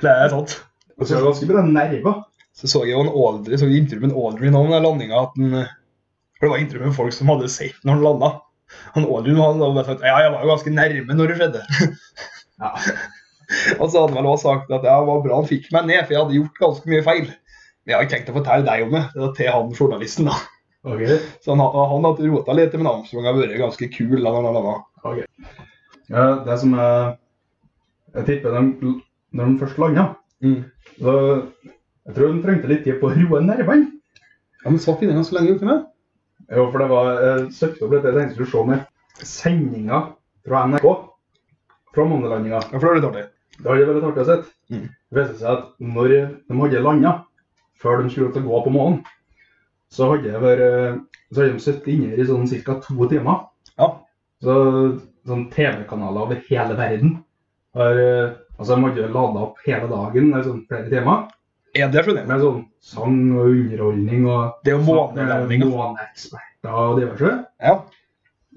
S5: Det er sant.
S3: Og så er det ganske bra nerver.
S5: så så jeg jo en Aldri, så jeg intervjuet med en Aldri nå om den landinga. at han, eh, For det var intervju med folk som hadde sett når han landa. Han Aldrin han hadde bare sagt ja, jeg var jo ganske nærme når det skjedde.
S3: Ja.
S5: og så hadde han vel også sagt at ja, det var bra han fikk meg ned, for jeg hadde gjort ganske mye feil. Men jeg har ikke tenkt å fortelle deg om det. Det var til han journalisten, da.
S3: Ok.
S5: Så han, han hadde rota litt, men Armstrong har vært ganske kul. da han har landet.
S3: Ja, det som er Jeg tipper de, når de først landa
S4: Mm.
S3: Så jeg tror de trengte litt tid på å roe nervene.
S4: Ja, men satt inne ganske lenge, gjorde han ikke det?
S3: Jo, for det var eh, søkte opp dette. Jeg tenkte jeg skulle se med sendinga fra NRK fra månelandinga.
S5: Ja, for det var litt dårlig.
S3: Det hadde vært artig å se.
S5: Mm.
S3: Det viste seg at når de hadde landa, før de skulle til å gå på månen, så hadde det vært, eh, så hadde de sittet inne her i sånn ca. to timer.
S5: Ja.
S3: Så sånn TV-kanaler over hele verden har eh, Altså, de hadde lada opp hele dagen, eller sånn flere timer,
S5: Ja, det skjønner jeg.
S3: med sånn sang og underholdning og
S5: Det er jo
S4: eh,
S5: månelandinga.
S3: Måneeksperter og diverse.
S5: Ja.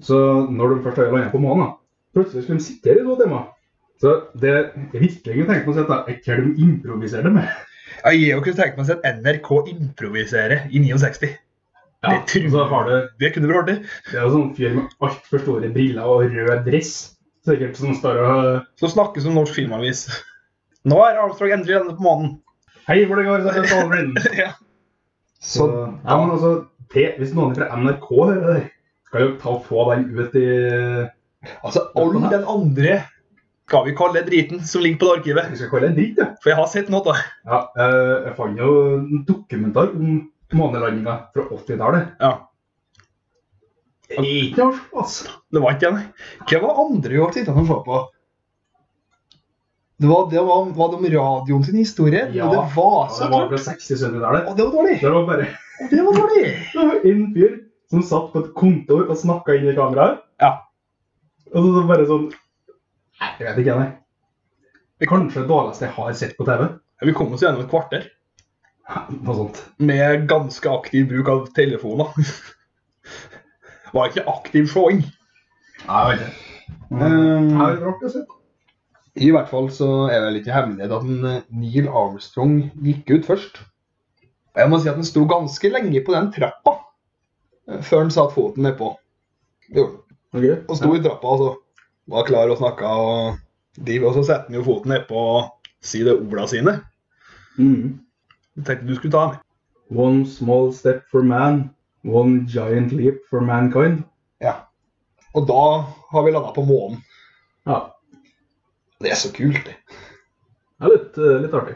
S3: Så når de først har landet på månen, da, plutselig skulle de sitte her i to timer. Så det jeg virkelig kunne tenke meg å sette, er hva de improviserte med.
S5: Ja, Jeg har jo kunne tenkt meg å se at NRK improvisere i 69.
S3: Ja,
S5: Det tror jeg.
S3: så har du,
S5: Det kunne vært artig.
S3: det er jo sånn fyr med altfor store briller og rød dress. Sikkert som står og
S5: som snakkes om norsk filmavis. Nå er Armstrog endelig landet på månen.
S3: Hei, hvor det går, så er det Alvin.
S5: Ja.
S3: Så, ja, men altså, det, hvis noen fra NRK hører det der, skal jo ta og få den ut i
S5: Altså, all den andre skal vi kalle driten som ligger på det arkivet.
S3: Vi skal kalle det dritt, ja.
S5: For jeg har sett noe, da.
S3: Ja, eh, jeg fant jo en dokumentar om månelandinga fra 80-tallet.
S5: Ja.
S3: Det er Ikke norsk, altså.
S5: Det var ikke den. Hva var andre år sittende og se på?
S4: Det var, det var, var det om radioen sin historie?
S3: Ja,
S4: og det var
S3: Det
S4: så
S3: var
S4: Altså, klart.
S3: fra 60-70-tallet.
S4: Og det var dårlig.
S3: Det var bare
S4: Det var dårlig.
S3: det var en fyr som satt på et kontor og snakka inn i kameraet.
S5: Ja.
S3: Og så så bare sånn Nei, jeg vet ikke, jeg. nei. Det er kanskje det dårligste jeg har sett på TV.
S5: Vi kom oss gjennom et kvarter
S3: Noe sånt.
S5: med ganske aktiv bruk av telefoner. Var ikke aktiv showing.
S3: Nei, jeg vet ikke.
S4: Ehm,
S3: Nei, Mm. det var artig å se.
S4: I hvert fall så er det vel ikke hemmelighet at en eh, Neil Armstrong gikk ut først. Og Jeg må si at han sto ganske lenge på den trappa eh, før han satte foten nedpå. Det gjorde han.
S3: Okay.
S4: Og
S3: Ja.
S4: sto i
S5: trappa, altså. Var klar og snakka og div, og så setter han jo foten nedpå og sier det orda sine.
S3: Mhm.
S5: Jeg tenkte du skulle ta med.
S3: One small step for man, one giant leap for mankind.
S4: Og da har vi landa på månen.
S3: Ja,
S4: Det er så kult, det.
S3: det er litt, eh, litt artig.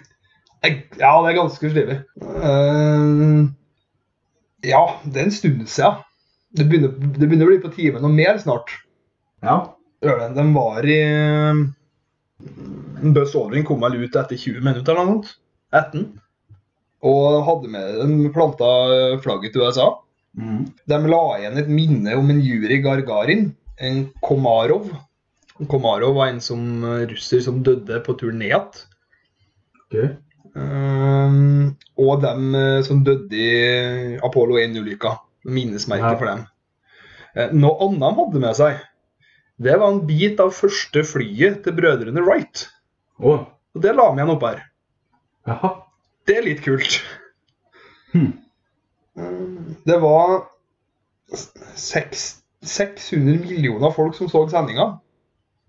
S4: Jeg- Ja, det er ganske stilig. Eh, ja, det er en stund siden. Det begynner, det begynner å bli på timen og mer snart.
S3: Ja.
S5: Ørland, den var i eh, Buzz Aldrin kom vel ut etter 20 minutter eller noe sånt. 18.
S4: Og hadde med den planta flagget til USA.
S3: Mm.
S4: De la igjen et minne om en Juri Gargarin, en Komarov.
S5: Komarov var en som, eh, russer som døde på tur ned igjen.
S3: Ok.
S5: Ehm, og dem eh, som døde i Apollo 1-ulykka. Minnesmerke
S3: Ja.
S5: for dem. Eh, noe annet de hadde med seg, det var en bit av første flyet til brødrene Wright.
S3: Å,
S5: Og det la de igjen opp her.
S3: jaha.
S5: Det er litt kult.
S3: Hmm.
S5: Ehm,
S4: Det var seks- 600 millioner folk som så sendinga.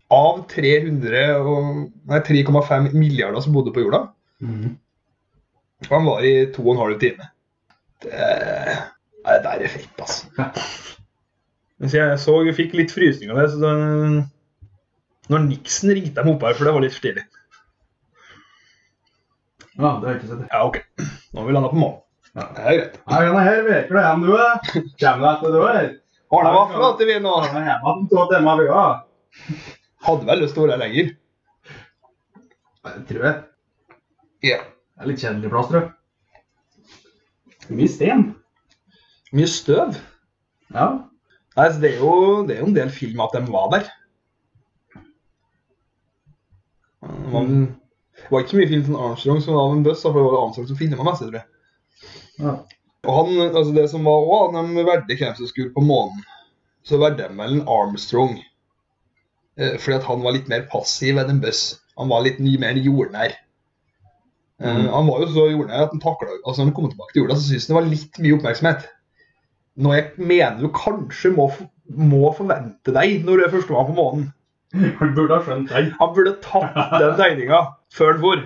S4: Av 300 og- nei, 3,5 milliarder som bodde på jorda.
S3: Mhm.
S4: Og han var i to og en halv time. Det, nei, det der er fett, altså.
S5: Mens jeg så jeg fikk litt frysninger der, så da- Når Nixon ringte dem opp her, for det var litt stilig.
S3: Ja, det har jeg ikke sett.
S5: Ja, OK. Nå har vi landa på månen.
S4: Det er greit.
S3: Nei, men her virker det enn du er. Kjem du etter du er?
S4: Arne Vaffel at vi nå
S3: Han er hjemme om to timer vi har.
S4: hadde vel lyst til å være her lenger.
S3: Nei, det tror jeg.
S4: Ja.
S3: Det er litt kjedelig plass, tror jeg. Mye sten.
S5: Mye støv.
S3: Ja.
S5: Nei, så det er, jo, det er jo en del film at de var der.
S4: Mm.
S5: Det var, det var ikke så mye film fra Armstrong som var en buss, for det var Armstrong som filma mest, tror jeg.
S3: ja.
S4: Og han, altså det som var òg, de valgte hvem som skulle på månen. Så valgte de vel en Armstrong. Eh, fordi at han var litt mer passiv enn en buss. Han var litt mye mer jordnær. Eh,
S3: Mm.
S4: Han var jo så jordnær at han taklet, altså når han kom tilbake til jorda, så syntes han det var litt mye oppmerksomhet. Noe jeg mener du kanskje må, f- må forvente deg når du er førstemann på månen.
S3: Han burde ha skjønt den.
S4: Han burde tatt den tegninga før han for.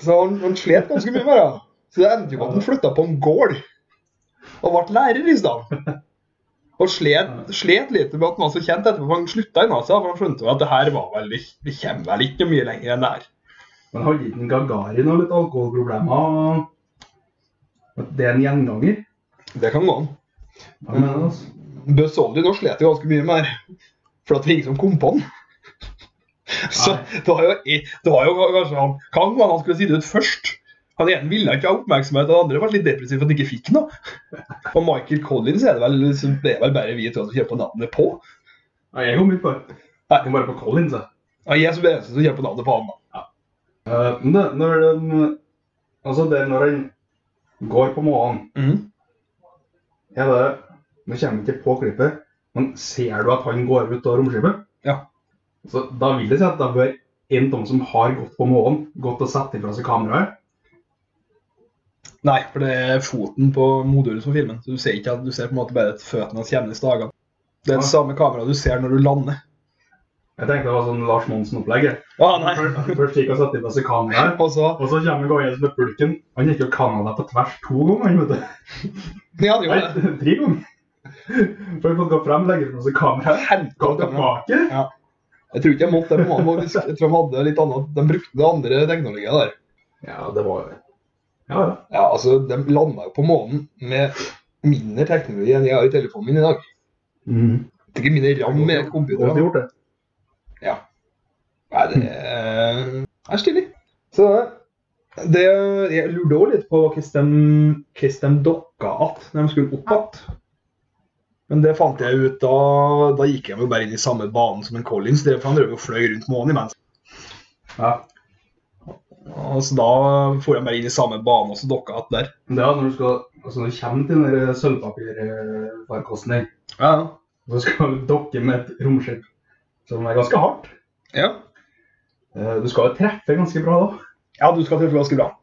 S4: Så han, han slet ganske mye med det. Så det endte jo med at han flytta på en gård og ble lærer i stedet. Og slet, slet litt med at han var så kjent etterpå, for han slutta i NASA. For han skjønte jo at det her var vel, ikke- vi kommer vel ikke mye lenger enn det her.
S3: Men hadde ikke en Gagarin og litt alkoholproblemer? At det er en gjenganger?
S4: Det kan gå an.
S3: Ja, men, altså.
S4: Buzz Aldrin nå slet jo ganske mye med det. For at det var ingen som kom på han. Så det var jo, det var jo kanskje han Kan hende han skulle sitte ut først. Han ene ville ikke ha oppmerksomhet, og den andre var litt depressiv for at han ikke fikk noe. Og Michael Collins er det vel, så det er vel bare vi to som kommer på navnet på.
S3: Nei, jeg kom ikke på det. Jeg kom bare på Collins, jeg.
S4: Ja, jeg som er den eneste som kommer på navnet på han. da.
S3: Eh, Men det, når den Altså, det når den går på månen,
S4: Mhm.
S3: er det Nå kommer jeg ikke på klippet, men ser du at han går ut av romskipet?
S4: Ja.
S3: Så da vil det si at da bør en av dem som har gått på månen, gått og satt ifra seg kameraet.
S4: Nei, for det er foten på modulet som filmen. Så du ser ikke at du ser på en måte bare at føttene hans kommer i stagene. Det er det samme kameraet du ser når du lander.
S3: Jeg tenkte det var sånn Lars Monsen-opplegg. jeg.
S4: Å nei.
S3: Først først gikk og satte ifra seg kameraet.
S4: Og så
S3: Og så kommer Goyes med pulken. Han gikk jo Canada på tvers to ganger. han, vet du.
S4: Ja, det gjorde det.
S3: Nei, tre ganger. For vi måtte gå frem, legge fra oss kameraet,
S4: Helvete,
S3: gå
S4: kamera.
S3: tilbake.
S4: Jeg tror ikke jeg måtte det på månen. faktisk. Jeg tror de hadde litt annet. De brukte det andre teknologier der.
S3: Ja, det var Ja, ja.
S4: Ja, altså, De landa jo på månen med mindre teknologi enn jeg har i telefonen min i dag. Det er ikke mindre ram med
S3: Og de
S4: computer.
S3: gjorde Mm. det.
S4: Nei, det er, det er stilig. Så det, jeg lurte også litt på hvordan de, hvordan de dokka att når de skulle opp igjen. Men det fant jeg ut da, da gikk jeg jo bare inn i samme banen som en Collins. drev, for Han drev jo og fløy rundt månen imens.
S3: Ja.
S4: Og så da får jeg bare inn i samme bane og så dokka att der.
S3: Men Det er når du skal, altså når du kommer til den der sølvpapirfarkosten din,
S4: Ja,
S3: så skal du dokke med et romskip som er ganske hardt.
S4: ja.
S3: Eh, Du skal jo treffe ganske bra da.
S4: Ja, du skal treffe ganske bra.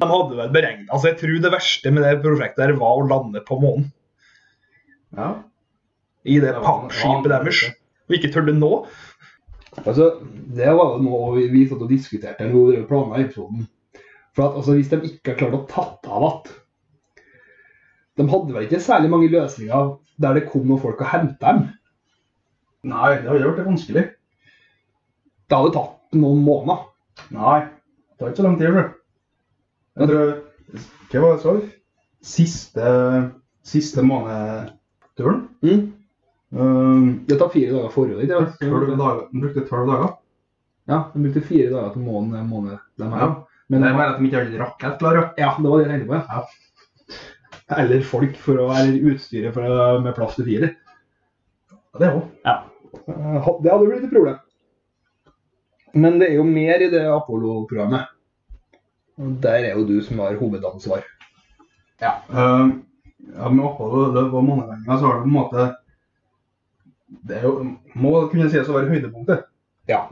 S4: De hadde vel beregnet Altså, jeg tror det verste med det prosjektet her var å lande på månen.
S3: Ja.
S4: I det pappskipet deres. Og ikke tør det nå. Altså, det var jo noe vi satt og diskuterte når vi planla episoden. For at, altså, Hvis de ikke har klart å tatt av igjen De hadde vel ikke særlig mange løsninger der det kom noen folk og hentet dem.
S3: Nei, det hadde vært det vanskelig.
S4: Det hadde tatt noen måneder.
S3: Nei, det tar ikke så lang tid, tror jeg. Jeg tror, hva var det jeg sa? Siste, siste månedturen.
S4: Mm.
S3: Um,
S4: Det tar fire dager forhånd. ikke sant?
S3: tolv dager. Den brukte tolv dager.
S4: Ja, De brukte fire dager til måneden. måned de her.
S3: Ja.
S4: Men
S3: det er bare at de ikke har rakett klar, ja.
S4: ja, det var det jeg tenkte på. Ja. Eller folk for å være utstyret for å, med plass til fire.
S3: Ja, Det òg.
S4: Eh, ha- Det hadde blitt et problem. Men det er jo mer i det Apollo-programmet. Og Der er jo du som har hovedansvar.
S3: Ja. Um, ja, med Apollo det var månelandinga, så har det på en måte Det er jo, må kunne sies å være høydepunktet.
S4: Ja.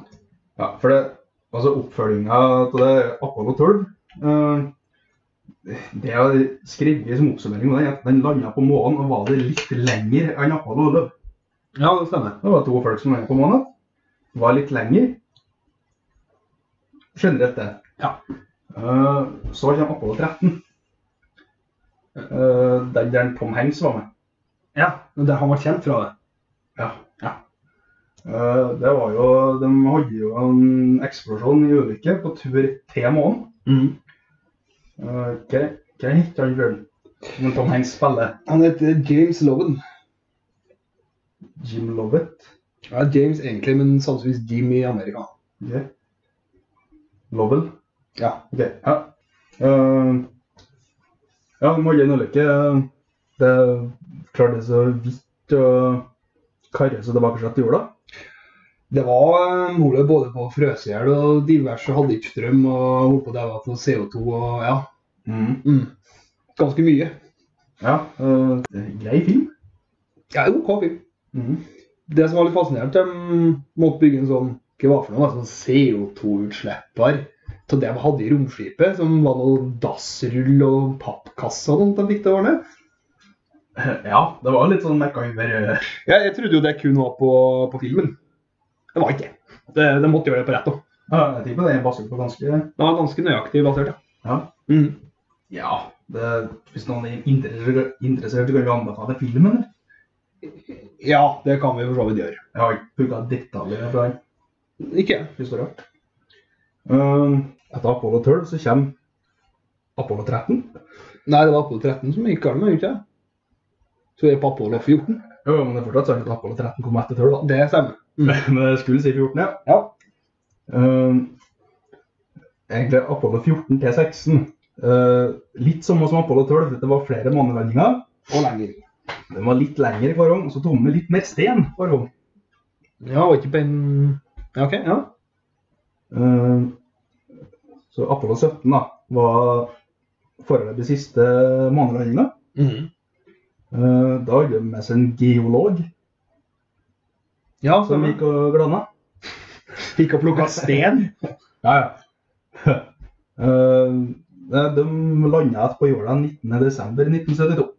S3: Ja, for det, altså oppfølginga av det Apollo 12 eh, Det er jo skrevet som oppsummering. og Den, er at den landa på månen og var det litt lenger enn Apollo 11.
S4: Ja, det stemmer.
S3: Det var to folk som var på månen. Var litt lenger. Generelt det.
S4: Ja.
S3: Eh, så kommer Apollo 13. Eh, den der Tom Hanks var med.
S4: Ja, men det, Han var kjent fra det.
S3: Ja. Eh, det var jo, De hadde jo en eksplosjon i ulykke på tur til månen.
S4: Mm.
S3: Eh, Hva hva heter han fyren? Men Tom Hanks spiller
S4: Han heter James Loven.
S3: Jim Lovett.
S4: Ja, James egentlig, men sannsynligvis Jim i Amerika.
S3: Ok. Lovell.
S4: Ja.
S3: Ok, ja. Eh, ja, de hadde en ulykke. Det klarte så vidt å karre seg tilbake til jorda.
S4: Det var eh, mulig både på å frøse i hjel og diverse hadde ikke strøm og holdt på å daue på CO2 og ja. Mm. Ganske mye.
S3: Ja, eh, mm. det er en grei film.
S4: Ja, OK film. Det som var litt fascinerende, de måtte bygge en sånn hva var det for noe, da, sånn CO2-utslipper til det de hadde i romskipet, som var noe dassrull og pappkasse og sånt de fikk til å ordne.
S3: Ja, det var litt sånn MacGyver. eh,
S4: Ja, jeg trodde jo det kun var på, på filmen. Det var ikke det. det. De måtte gjøre det på rett òg.
S3: Ja, jeg tipper det er basert på ganske
S4: Det var ganske nøyaktig basert,
S3: Ja.
S4: Mm.
S3: ja det, hvis noen er inter- interessert, så kan vi anbefale filmen. eller?
S4: Ja, det kan vi for så vidt gjøre.
S3: Jeg har ikke plukka detaljer fra den
S4: Ikke jeg.
S3: historien. Eh, etter Apollo 12 så kommer Apollo 13.
S4: Nei, det var Apollo 13 som gikk galt, men ikke jeg. Så vi er på Apollo 14.
S3: Jo, men det er fortsatt sånn at Apollo 13 kom etter 12, da.
S4: Det stemmer. Mm.
S3: Men jeg skulle si 14, ja.
S4: Ja.
S3: Ehm, egentlig Apollo 14 til 16. Eh, litt samme som Apollo 12. Det var flere månelandinger.
S4: Og lenger.
S3: Den var litt lengre hver gang, og så tomme litt mer sten hver gang.
S4: Ja, var ikke på en Ja, OK. Ja.
S3: Ehm, så Apollo 17 da, var foreløpig siste månelandinga.
S4: Mm.
S3: Eh, da hadde de med seg en geolog
S4: Ja,
S3: som gikk og glana.
S4: Gikk og plukka sten.
S3: Ja, ja. Eh, de landa igjen på jorda 19.12.1972.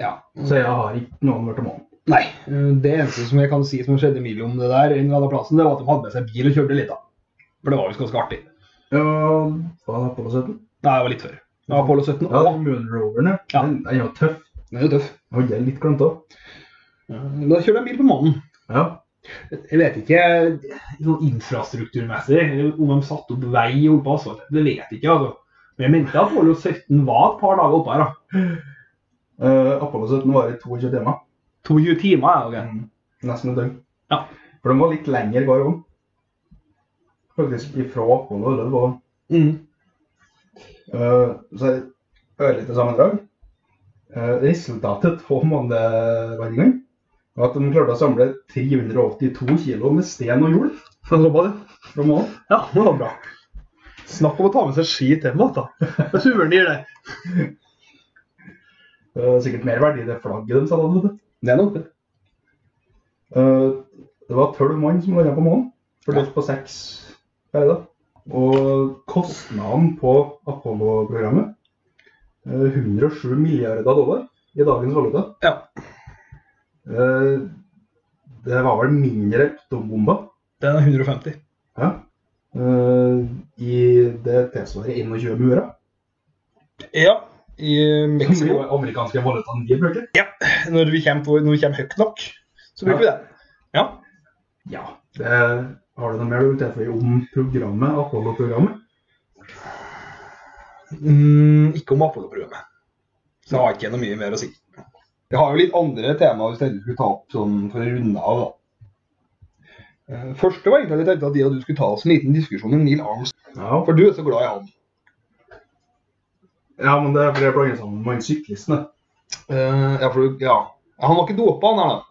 S4: Ja.
S3: Så jeg har ikke noen vært om månen.
S4: Nei. Det eneste som jeg kan si som skjedde mellom det der, en eller annen plassen, det var at de hadde med seg bil og kjørte litt, da. For det var visst ganske artig.
S3: Ja, var det Apollo 17?
S4: Nei, det var litt før. Det var Apollo 17.
S3: Ja, det var Moon Roveren,
S4: Ja.
S3: Den den er jo tøff.
S4: Den er jo tøff.
S3: Den er litt glemt òg.
S4: Da kjører de bil på månen.
S3: Ja.
S4: Jeg vet ikke sånn infrastrukturmessig om de satte opp vei og holdt på asfalt. Det vet jeg ikke, altså. Men jeg mente at Apollo 17 var et par dager oppe her, da.
S3: Eh, Apollo 17 var i 22 timer.
S4: 22 timer, ja. ok.
S3: Mm. Nesten et døgn.
S4: Ja.
S3: For den var litt lengre hver gang. Faktisk ifra Apollo 11. var den.
S4: Mm.
S3: Eh, så er det ørlite sammendrag. Eh, resultatet på månelandingen var at de klarte å samle 382 kilo med sten og jord
S5: Såpass,
S3: fra månen.
S5: ja. Det var bra. Snakk om å ta med seg ski til mat, da. Det er suvenir, det.
S3: Eh, sikkert mer verdi i det flagget de satte opp. vet du.
S4: Det er nok det.
S3: Eh, det var tolv mann som landa på månen, fordelt på seks guider. Og kostnaden på Apollo-programmet eh, 107 milliarder dollar i dagens valuta.
S5: Ja.
S3: Eh, det var vel mindre enn atombomba.
S5: Den er 150.
S3: Ja. Eh, i det tilsvarer 21 murer.
S4: Ja, i
S3: Som er
S4: Mexico.
S3: jo amerikanske valutaen vi bruker.
S4: Når vi kommer, når vi kommer høyt nok, så bruker vi den. Ja.
S3: Ja. Det, har du noe mer du vil tilføye om programmet, Apollo-programmet?
S4: Mm, ikke om Apollo-programmet. Så jeg har ikke noe mye mer å si.
S6: Jeg har jo litt andre temaer hvis jeg skulle ta opp sånn for å runde av, da. Eh, Første var egentlig at jeg tenkte at jeg og du skulle ta oss en liten diskusjon om Neil Armstrong.
S3: Ja.
S6: For du er så glad i han.
S3: ja, men det er fordi jeg blander sammen med han syklisten. det.
S6: Eh, ja, for, du- ja. Han var ikke dopa, han her, da.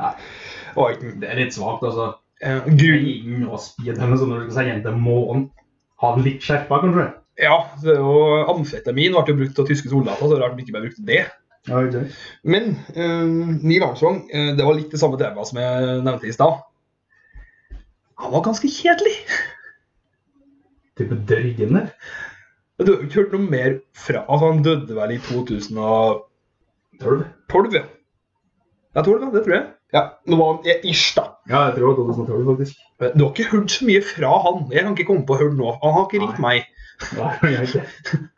S3: Nei,
S4: Det var ikke
S3: det er litt svakt, altså.
S4: eh,
S3: Du
S4: grunn...
S3: gir inn og speed henne sånn når du skal sende henne til månen. Ha den litt skjerpa, kanskje?
S4: Ja, det er jo amfetamin ble jo brukt av tyske soldater, så det er rart de ikke ble brukt det.
S3: Ja, ikke sant?
S4: Men eh, Neil Armstrong, eh, det var litt det samme temaet som jeg nevnte i stad. Han var ganske kjedelig.
S3: Type dørgen der.
S4: Men Du har jo ikke hørt noe mer fra Altså, han døde vel i 2012,
S3: Tror du det?
S4: ja. Ja, 12, ja, det tror jeg. Ja, Nå var han i- ish, da.
S3: Ja, jeg tror det var 2012, faktisk.
S4: Men Du har ikke hørt så mye fra han. Jeg kan ikke komme på å høre nå. Han har ikke ringt meg.
S3: Nei, jeg har ikke.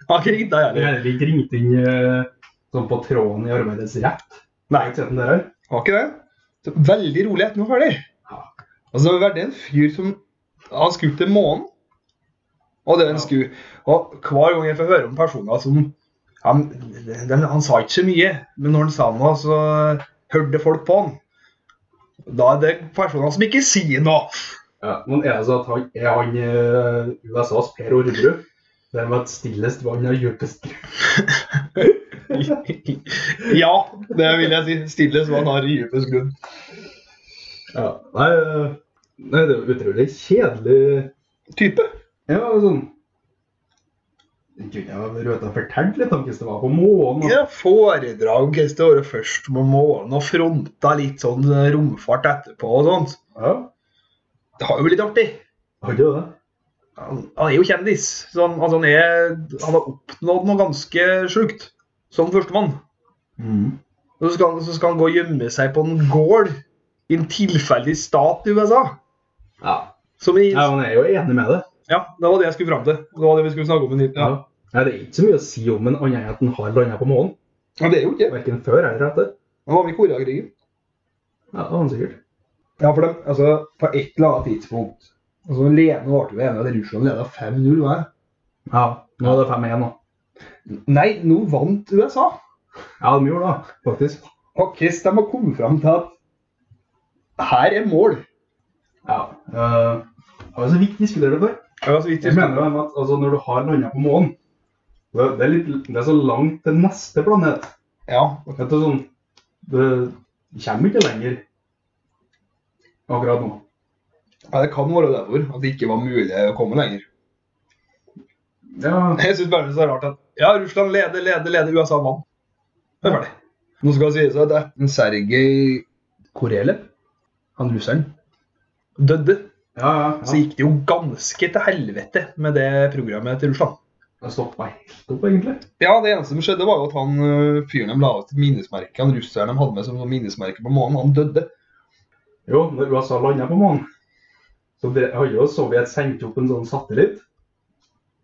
S4: Han har ikke ringt deg
S3: Jeg
S4: heller.
S3: har ikke ringt inn eh, sånn på tråden i arbeidets rett.
S4: Nei,
S3: Har ikke sett den der her.
S4: han har ikke det. Så veldig rolig etter noe ferdig.
S3: Ja.
S4: Altså, det har vært en fyr som Han skulle til månen. Og det er en
S3: Ja.
S4: sku. Og hver gang jeg får høre om personer som han, den, han sa ikke så mye, men når han sa noe, så hørte folk på han. Da er det personer som ikke sier noe.
S3: Ja, men er det så at han, er han eh, USAs Per Orderud? Det med et stillest vann er djupest
S4: ja, det vil jeg si. Stille som han har i dypest grunn.
S3: ja, nei, eh, nei, det er jo utrolig kjedelig
S4: Type.
S3: Ja, sånn Det kunne jeg vært ute og fortalt litt om hvordan det var på månen. og-
S4: Ja, foredrag hvordan det året først med månen, og fronta litt sånn eh, romfart etterpå og sånt.
S3: Ja,
S4: Det har jo blitt artig.
S3: hadde jo det.
S4: Han, han er jo kjendis. Så han, altså han, er, han har oppnådd noe ganske sjukt som førstemann. Og så skal, han- så skal han gå og gjemme seg på en gård i en tilfeldig stat i USA.
S3: Ja.
S4: Som i,
S3: ja,
S4: ja,
S3: men jeg er jo enig med det.
S4: det var det jeg skulle fram til. Det var det vi skulle snakke om. men- Ja.
S3: Nei, Det er ikke så mye å si om en annet enn at den har landa på månen.
S4: ja, det er jo ikke det.
S3: Verken før eller etter.
S4: Han var med i Koreakrigen.
S3: Ja, det var han sikkert.
S6: Ja, for dem, altså, på et eller annet tidspunkt altså, Lene ble jo enig at Russland leda 5-0. hva er det?
S3: Ja, nå er det 5-1 nå.
S6: Nei, nå vant USA.
S3: Ja, de gjorde det, faktisk.
S6: Og hvordan de har kommet fram til at her er mål.
S3: Ja. Uh, altså, vi diskuterer det før.
S4: Ja, så vidt
S3: Jeg mener det med at altså, når du har landa på månen det, det, er litt, det er så langt til neste planet.
S4: Ja,
S3: Vet du, sånn, det kommer ikke lenger akkurat nå.
S6: Ja, Det kan være derfor at det ikke var mulig å komme lenger.
S3: Ja,
S4: Jeg syns bare det er så rart at ja, Russland leder, leder, leder, USA vant. Det er ferdig.
S6: Nå skal det sies at etter Sergej Korelev, han russeren
S4: Døde.
S3: ja, ja.
S4: Så gikk det jo ganske til helvete med det programmet til Russland.
S3: Det stoppa helt opp, egentlig.
S6: Ja, det eneste som skjedde, var jo at han øh, fyren de la ut et minnesmerke, han russeren de hadde med som sånn minnesmerke på månen, han døde.
S3: Jo, når USA landa på månen, så dre- hadde jo Sovjet sendt opp en sånn satellitt.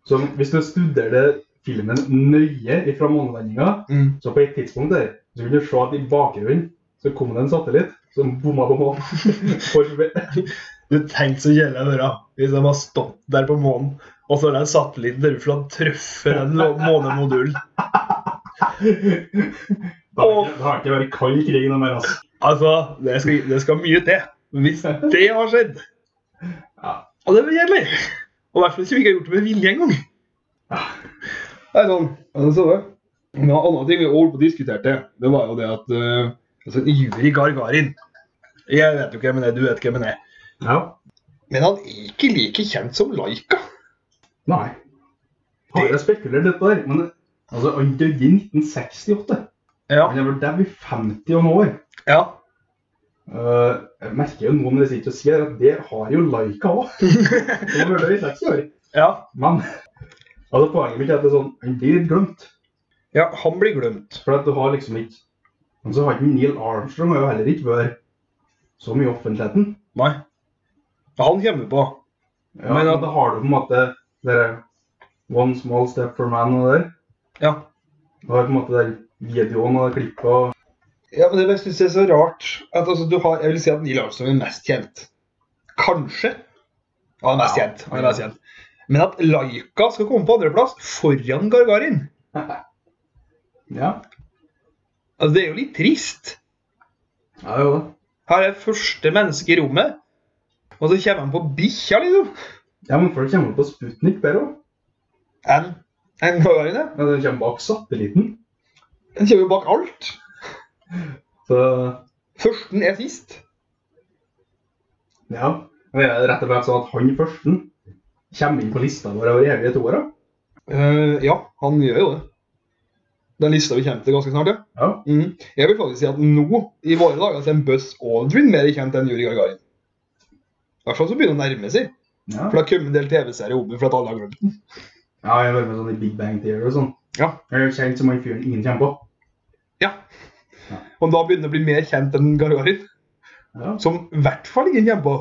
S3: Så hvis du studerer filmen nøye fra månelandinga,
S6: Mm.
S3: Så på et tidspunkt der, så kunne du se at i bakgrunnen så kom det en satellitt som bomma på månen. For
S4: Du tenkte så kjedelig å høre hvis de har stått der på månen, og så har den satellitten til Russland truffet den lo- månemodulen.
S3: Da har ikke- da har ikke vært kald krig noe mer, altså.
S4: Altså, det skal, det skal mye til hvis det har skjedd.
S3: Ja.
S4: Og det blir kjedelig. Og i hvert fall hvis vi ikke har gjort det med vilje engang.
S6: Ah. Det er sånn. Ja, det så det. Men en annen ting vi holdt på å diskutere til, det var jo det at
S4: eh,
S6: øh, altså,
S4: Juri Gargarin. Jeg vet jo hvem han er, du vet hvem han er.
S3: Ja.
S6: Men han er ikke like kjent som Laika.
S3: Nei. Har jeg spekulert litt på det, men altså, han døde i 1968.
S4: Ja.
S3: Han er vel dau i 50 om noen år.
S4: ja.
S3: Eh, jeg merker jo noen når jeg sitter og sier at det har jo Laika òg. Han ble død i 60 år.
S4: ja.
S3: Men altså, poenget mitt er at det er sånn, han blir glemt.
S4: Ja, han blir glemt.
S3: For at du har liksom ikke Men så har ikke Neil Armstrong har jo heller ikke vært så mye i offentligheten.
S4: Nei. Men han kommer på.
S3: Ja, men da har du på en måte det der One Small Step for Man og det der.
S4: Ja.
S3: Du har på en måte den videoen og det klippet og
S4: Ja, men Det jeg syns er så rart at altså, du har, Jeg vil si at Neil Armstrong er mest kjent. Kanskje. Ja, han er mest
S3: Ja,
S4: kjent. Han er mest kjent. Men at Laika skal komme på andreplass foran Gargarin,
S3: Ja,
S4: altså, det er jo litt trist.
S3: ja jo det.
S4: Her er første menneske i rommet, og så kommer han på bikkja, liksom.
S3: Ja, men folk kommer på Sputnik bedre òg.
S4: Enn en Gargarin, ja.
S3: Ja, den kommer bak satellitten.
S4: Den kommer jo bak alt.
S3: Så
S4: Førsten er sist.
S3: ja. Det er rett og slett sånn at han førsten kommer inn på lista vår over evige toere.
S4: Eh, ja, han gjør jo det. Den lista vi kommer til ganske snart, ja.
S3: Ja.
S4: Mhm. Jeg vil faktisk si at nå, i våre dager, så er en Buzz Aldrin mer kjent enn Yuri Gagarin. I hvert fall så begynner det å nærme seg.
S3: Ja.
S4: For det har kommet en del TV-serier om den for at alle har glemt den.
S3: ja, jeg har vært med sånn i Big Bang Theory og sånn.
S4: Ja.
S3: Jeg er jo kjent som han fyren ingen kommer på.
S4: ja. Og da begynner det å bli mer kjent enn Gagarin.
S3: Ja.
S4: Som i hvert fall ingen kjenner på.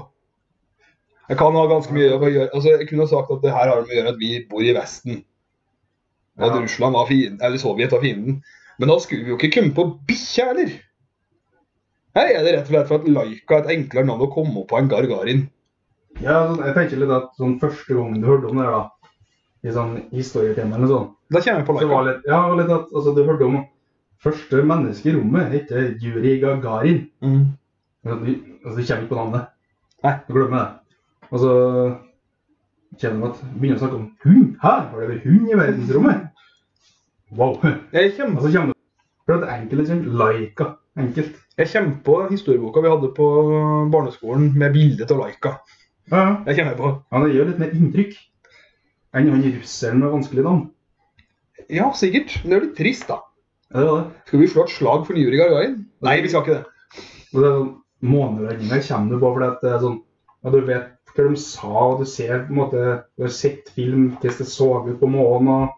S4: Jeg kan ha ganske mye å gjøre. Altså, jeg kunne ha sagt at det her har med å gjøre at vi bor i Vesten. Og at
S3: Ja.
S4: Russland var fienden, eller Sovjet var fienden. Men da skulle vi jo ikke komme på bikkja heller. Her er det rett og slett for at Laika er et enklere navn å komme opp på enn Gargarin.
S3: Ja, sånn, jeg tenker litt at sånn første gangen du hørte om det, her da, i sånn historietimen og sånn,
S4: Da kommer vi på
S3: så
S4: Laika.
S3: var litt, ja, var litt at altså, du hørte om første menneske i rommet heter Yuri Gagarin.
S4: Mm.
S3: Men du, altså, du kommer ikke på navnet.
S4: Nei.
S3: Du glemmer det. Og så kjenner du at begynner å snakke om hund. Hæ? Har det vært hund i verdensrommet? Wow. Og
S4: Jeg kommer,
S3: så kommer du For det er enkelt, liksom. Laika. Enkelt.
S4: jeg kommer på historieboka vi hadde på barneskolen med bilde av Laika.
S3: Ja, ja.
S4: Jeg kommer på.
S3: Ja, det gjør litt mer inntrykk enn han russeren med vanskelig navn.
S4: Ja, sikkert. Men det er jo litt trist, da.
S3: Ja, det var det.
S4: Skal vi slå et slag for Yuri Gargarin? Nei, vi skal ikke det.
S3: Og det er sånn, Månelandinger kommer du på fordi at det er sånn ja, Du vet hva de sa, og du ser på en måte Du har sett film, hvordan det så ut på månen, og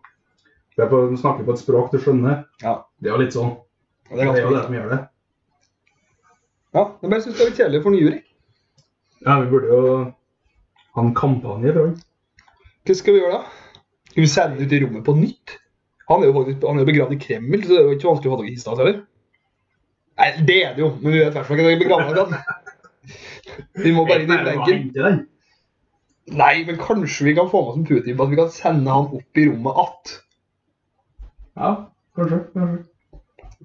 S3: det er på, de snakker på et språk du skjønner.
S4: Ja.
S3: Det er jo litt sånn.
S4: Ja,
S3: Det er, jo det
S4: viktig.
S3: som gjør det.
S4: Ja, men jeg synes det er litt kjedelig for den jury.
S3: Ja, Vi burde jo ha en kampanje for han.
S4: Hva skal vi gjøre da? Skal vi sende ut i rommet på nytt? Han er jo, faktisk, han er jo begravd i Kreml, så det er jo ikke vanskelig å få tak i kista hans heller. Nei, det er det jo, men vi vet i hvert fall ikke når vi begraver den. Vi må bare inn i benken.
S3: hente den.
S4: Nei, men kanskje vi kan få med oss en Putin på at vi kan sende han opp i rommet att.
S3: Ja, kanskje. kanskje.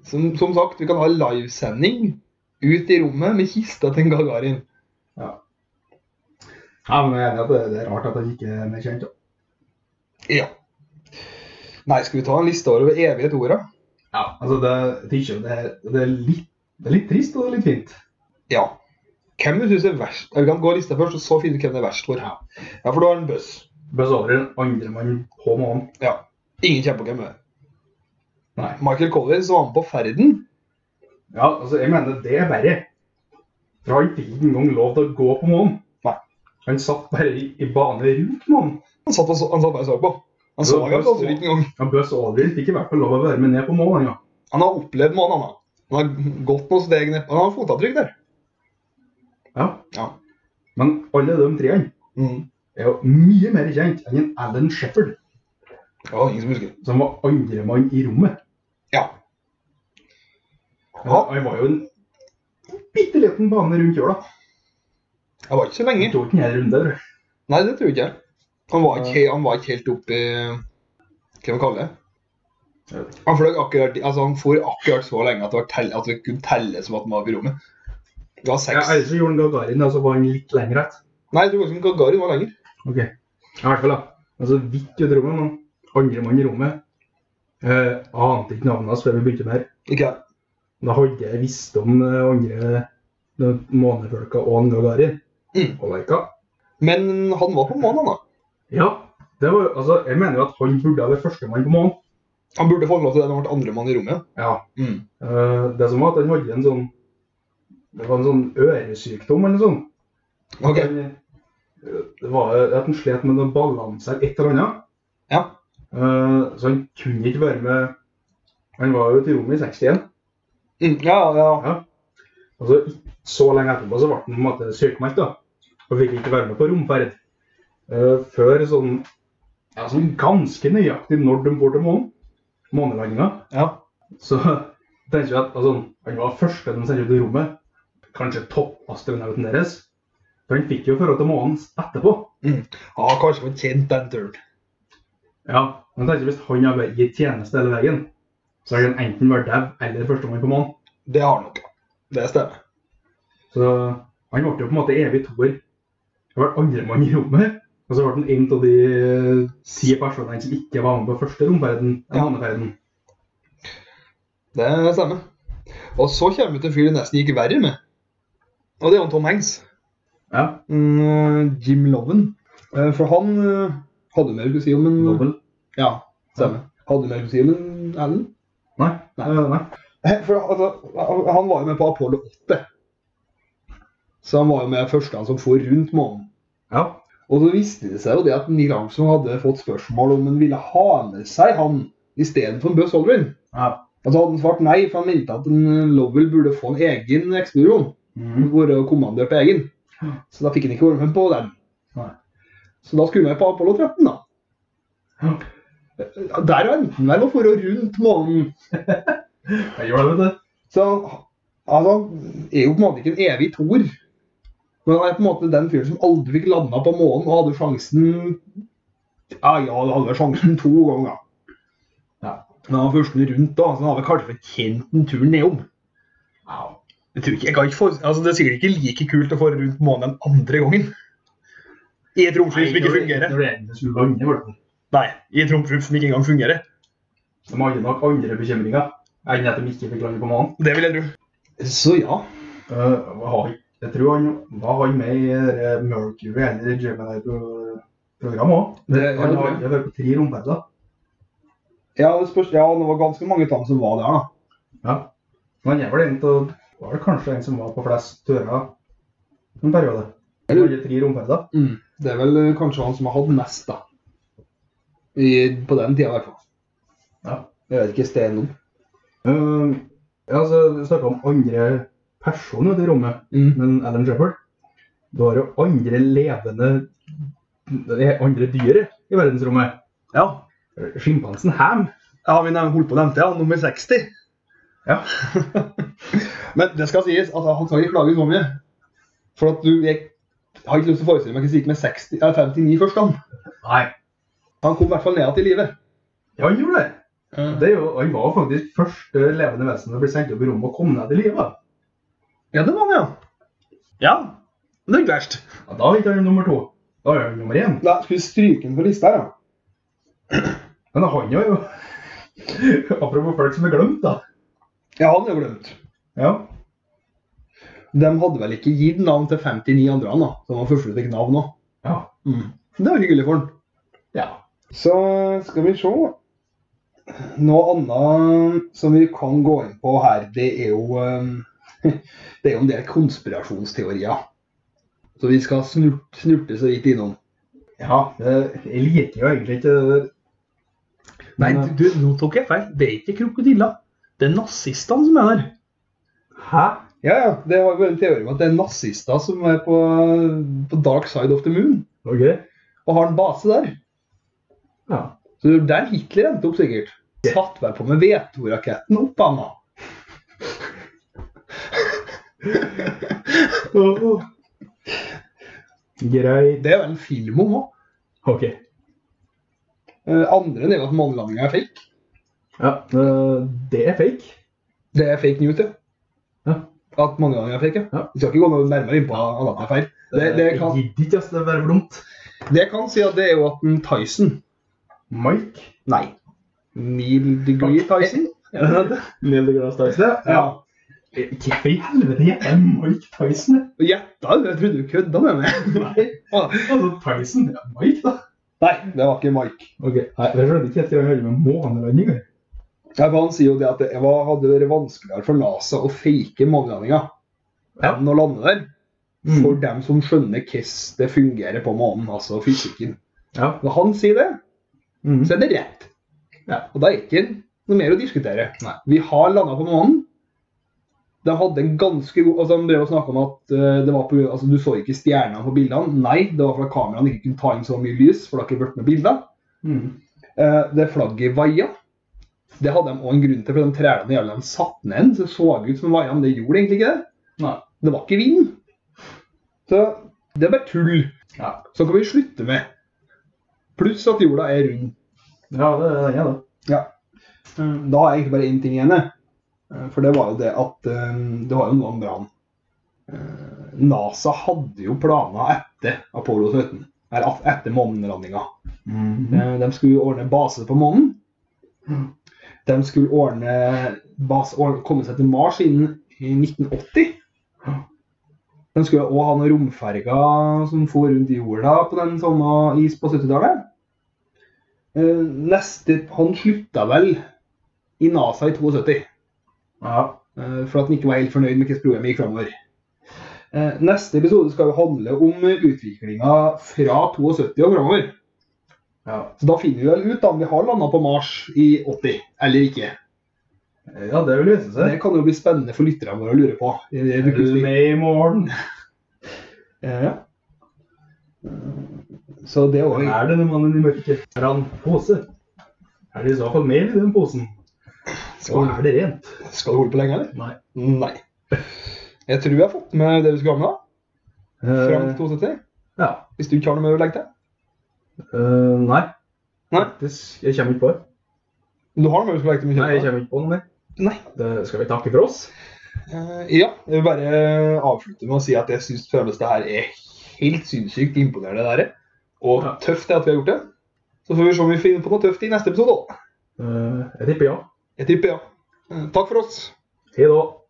S4: Som, som sagt, vi kan ha livesending ut i rommet med kista til en Gagarin.
S3: Ja, men jeg er enig i at det, det er rart at han ikke er mer kjent. da.
S4: Ja. Nei, skal vi ta en liste over evighet-orda?
S3: Altså, det, jeg tenker jo det, er- det, er litt, det er litt trist, og det er litt fint.
S4: Ja. Hvem du syns er verst? Vi kan gå lista først, og så finner du hvem det er verst for. Ja, for du har en buss.
S3: Buzz Aldrin, andremann på månen.
S4: Ja. Ingen kjenner på hvem det er.
S3: Nei.
S4: Michael Collins var med på Ferden.
S3: Ja, altså, jeg mener det er verre. For han fikk ikke engang lov til å gå på månen.
S4: Nei.
S3: Han satt bare i, i bane rundt månen.
S4: Han satt, og så, han satt bare og så på. Han så
S3: Ja,
S4: ikke
S3: Buzz
S4: så vidt engang.
S3: Ja, Buzz Aldrin fikk i hvert fall lov å være med ned på månen. Ja.
S4: Han har opplevd noe annet. Han har gått noen steg ned. Han har fotavtrykk der.
S3: ja.
S4: Ja.
S3: Men alle de treene er jo mye mer kjent enn en Alan Shepherd,
S4: Det var ingen som husker.
S3: som var andremann i rommet.
S4: Ja.
S3: Ja, Han var jo en bitte liten bane rundt jorda.
S4: Det var ikke så
S3: Han
S4: lenge.
S3: tok en hel runde, tror jeg.
S4: Nei, det tror jeg ikke. Han var ikke, han var ikke helt oppi Hva man kaller det?
S3: Jeg vet
S4: Han fløy akkurat, altså han for akkurat så lenge at det, var tell, at det kunne telle som at han var i rommet. Det var
S3: Ja,
S4: seks.
S3: ellers så gjorde han Gagarin, og så var han litt lenger rett.
S4: Nei, jeg tror faktisk ikke Gagarin var lenger.
S3: Ok. Ja, I hvert fall, da. Altså, vidt ut i rommet, men andre mann i rommet eh, ante ikke navnet hans før vi begynte med her.
S4: Ikke jeg.
S3: Da hadde jeg visst om eh, andre de månefolka og han Gagarin.
S4: Mm.
S3: Og Laika.
S4: Men han var på månen, da.
S3: Ja. Det var, jo- altså, jeg mener jo at han burde ha vært førstemann på månen.
S4: Han burde få lov til det når han ble andremann i rommet.
S3: Ja.
S4: Mm.
S3: Eh, det som var at han hadde en sånn Det var en sånn øresykdom eller noe sånt.
S4: Mm, Ok.
S3: Han, eh, Det var at han slet med noen balanse eller et eller annet.
S4: Ja.
S3: Eh, så han kunne ikke være med Han var jo til rommet i 61.
S4: Mm. Ja, ja.
S3: Og så, så lenge etterpå så ble han på en måte sykemeldt da, og fikk ikke være med på romferd. eh, før sånn ja, sånn ganske nøyaktig når de får til månen. Månelandinga.
S5: Ja.
S3: Så tenker jeg at altså, han var første de sendte ut i rommet. Kanskje toppastronauten deres. For han fikk jo forhold til månen etterpå.
S5: ja, kanskje man kjente den turen.
S3: Ja, men tenker jeg hvis han har vært i tjeneste hele veien, så har han enten vært dau eller førstemann på månen.
S5: Det har han nok. Det stemmer.
S3: Så han ble jo på en måte evig toer. Han ble andremann i rommet. Og så ble han en av de eh, ti personene som ikke var med på første romferden.
S5: Ja.
S3: Ja. Måneferden.
S5: Det stemmer. Og så kommer vi til en fyr det nesten gikk verre med. Og det er jo Tom Hanks.
S3: Ja,
S5: Mm, Jim Loven.
S4: Eh, For han eh, hadde mer å si om en
S3: dobbel.
S4: Ja, stemmer. Hadde mer å si om en Allen.
S3: Nei. Nei. nei.
S4: Eh, For altså, han var jo med på Apollo 8. Så han var jo med første han som for rundt månen.
S3: Ja.
S4: Og så viste det seg jo det at Neil Armstrong hadde fått spørsmål om han ville ha med seg han istedenfor Buzz Aldrin.
S3: ja.
S4: Og så hadde han svart nei, for han mente at en eh, Lovell burde få en egen ekspedisjon.
S3: Mhm.
S4: Være kommandør på egen. Så da fikk han ikke være med på den.
S3: Nei.
S4: Så da skulle han på Apollo 13, da.
S3: Ja.
S4: Der endte han vel å dra rundt månen.
S3: Jeg gjør det, vet du.
S4: Så altså, han er jo på en måte ikke en evig tor. Men han er på en måte den fyren som aldri fikk landa på månen og hadde sjansen Ja, ja, han hadde vel sjansen to ganger.
S3: Ja.
S4: Men han var først rundt da, så han hadde vel kanskje fortjent en tur nedom.
S3: Ja.
S5: Jeg tror ikke, jeg kan ikke for, altså Det er sikkert ikke like kult å få rundt månen den andre gangen. I et romskip som ikke fungerer.
S3: Når det egentlig skulle lande, var det.
S5: Nei, i et romskip som ikke engang fungerer.
S3: De hadde nok andre bekymringer enn at de ikke fikk lande på månen.
S5: Det vil jeg tro.
S4: Så ja.
S3: Eh, hva har vi? jeg tror han var han med i det der Mercury eller Gemini-program òg.
S4: Det- ja, det
S3: Han
S4: tror
S3: har
S4: jeg.
S3: jeg har vært på tre romferder.
S4: Ja, det spørs, ja, det var ganske mange tann som var der, da.
S3: Ja. Men jeg var det en til Var det kanskje en som var på flest dører en periode? Han hadde tre romferder.
S4: Det er vel eh, kanskje han som har hatt mest, da. I, på den tida, i hvert fall.
S3: Ja.
S4: Jeg vet ikke stedet nå.
S3: Eh, ja, så Vi snakka om andre personer i rommet,
S4: Mm.
S3: men Alan Shepherd Du har jo andre levende det er andre dyr i verdensrommet.
S5: Ja.
S3: Sjimpansen Ham.
S5: ja vi nevnte- holdt på å nevne det, ja. Nummer 60.
S3: Ja.
S4: Men det skal sies at han skal ikke klage så mye. For at du jeg, har ikke lyst til å forestille meg hva som gikk med 60, eh, 59 først. Han.
S3: Nei.
S4: han kom i hvert fall ned igjen i livet.
S3: Ja, han gjorde det. det er jo, han var faktisk første levende vesen som ble sendt opp i rommet og kom ned til live.
S4: Ja, det var han, ja.
S5: Ja. Men det er ikke verst.
S3: Ja, da er ikke han nummer to. Da er han nummer én.
S4: Nei, skal vi stryke han på lista her, da?
S3: Men han har jo Apropos folk som er glemt, da.
S4: Ja, han er jo glemt.
S3: Ja.
S4: De hadde vel ikke gitt navn til 59 andre, han, da. Som var første som fikk navn òg.
S3: Ja.
S4: Det var hyggelig for han.
S3: ja.
S4: Så skal vi se. Noe annet som vi kan gå inn på her, det er jo eh, Det er jo en del konspirasjonsteorier. Så vi skal snurt, snurte så vidt innom.
S3: Ja, eh, Jeg liker jo egentlig ikke det der.
S5: Nei, du, du, nå tok jeg feil. Det er ikke krokodiller. Det er nazistene som er der.
S3: Hæ?
S4: Ja, ja. Det har jo en teori om at det er nazister som er på, på dark side of the moon
S3: Ok.
S4: og har en base der.
S3: Ja.
S4: Så det er der Hitler endte opp, sikkert. Satt vel på med V2-raketten opp, Anna.
S3: Åh, åh. Greit.
S4: Det er vel en film om òg.
S3: Ok.
S4: Eh, Andre er jo at månelandinga er fake.
S3: Ja, eh, det er fake.
S4: Det er fake news, ja.
S3: Ja.
S4: At mange ganger jeg fikk, ja.
S3: Ja.
S4: Vi skal ikke gå noe nærmere inn på at det er feil. Det, det,
S3: Jeg
S4: kan,
S3: gidder ikke, ass. Det er bare for dumt.
S4: det jeg kan si at det er jo at en Tyson
S3: Mike.
S4: Nei. Neil deGree Tyson?
S3: Neil deGrasse Tyson.
S4: Ja.
S3: Hvorfor i helvete heter han Mike Tyson?
S4: Og Gjetta du? Jeg trodde du kødda med meg.
S3: Nei, altså Tyson ja, Mike, da.
S4: Nei, det var ikke Mike.
S3: Ok, nei, Jeg skjønner ikke helt hva jeg hører med månelanding. jeg.
S4: Nei, for Han sier jo det at det var, hadde vært vanskeligere for NASA å fake månelandinga
S3: Ja. Mm.
S4: enn å lande der.
S3: For-
S4: For dem som skjønner hvordan det fungerer på månen, altså fysikken.
S3: Ja.
S4: Når han sier det,
S3: Mm.
S4: så er det rett.
S3: Ja.
S4: Og da er det ikke noe mer å diskutere. Vi har landa på månen. De hadde en ganske god altså De drev og snakka om at eh, det var på, grunn- altså, du så ikke stjernene på bildene. Nei, det var fordi kameraene ikke kunne ta inn så mye lys, for det har ikke blitt med bilder.
S3: Mm.
S4: Eh, det flagget vaia. Det hadde de òg en grunn til, for de trærne jævla de satt ned, så det så ut som vaia, men det gjorde egentlig ikke det.
S5: Nei.
S4: Det var ikke vind. Så det er bare tull.
S3: Ja.
S4: Så kan vi slutte med. Pluss at jorda er rund.
S3: Ja, det er den, ja, det.
S4: Mm, Da har jeg egentlig bare én ting igjen. jeg. Eh, For det var jo det at eh, Det var jo noe om brann. Eh, NASA hadde jo planer etter Apollo 13, eller at- etter månelandinga. Eh, De skulle ordne base på månen. De skulle ordne base, ordne- komme seg til Mars innen i 1980. De skulle òg ha noen romferger som for rundt jorda på den samme is på 70-tallet. Eh, Neste Han slutta vel i NASA i 72.
S3: Ja.
S4: Eh, for at han ikke var helt fornøyd med hvordan programmet gikk framover. Eh, neste episode skal jo handle om utviklinga fra 72 og framover.
S3: Ja.
S4: Så da finner vi vel ut da, om vi har landa på Mars i 80 eller ikke.
S3: ja, det vil vise
S4: Det
S3: seg.
S4: kan jo bli spennende for lytterne våre å lure på. i det
S3: Er du
S4: ukesvis.
S3: med i morgen?
S4: Eh, ja. Så det òg
S3: Er denne mannen i mørket? Er han pose? Er det i så fall mel i den posen? Og er det rent?
S4: Skal du holde på lenge, eller?
S3: Nei.
S4: Nei. Jeg tror jeg har fått med det vi skulle ha med da.
S3: Eh.
S4: Fram til 72.
S3: ja.
S4: Hvis du ikke har noe mer å legge til.
S3: Eh, nei.
S4: Nei.
S3: Faktisk, jeg kommer ikke på det.
S4: Du har noe mer du skal legge til? Michael?
S3: Nei, jeg kommer ikke på noe mer.
S4: Nei.
S3: Det skal vi takke for oss.
S4: Eh, ja, jeg vil bare avslutte med å si at jeg syns føles det her er helt sinnssykt imponerende. det der. Og
S3: Ja.
S4: tøft det at vi har gjort det. Så får vi se om vi finner på noe tøft i neste episode. da.
S3: Eh, jeg tipper ja.
S4: Jeg tipper ja. Eh, Takk for oss.
S3: Hei da.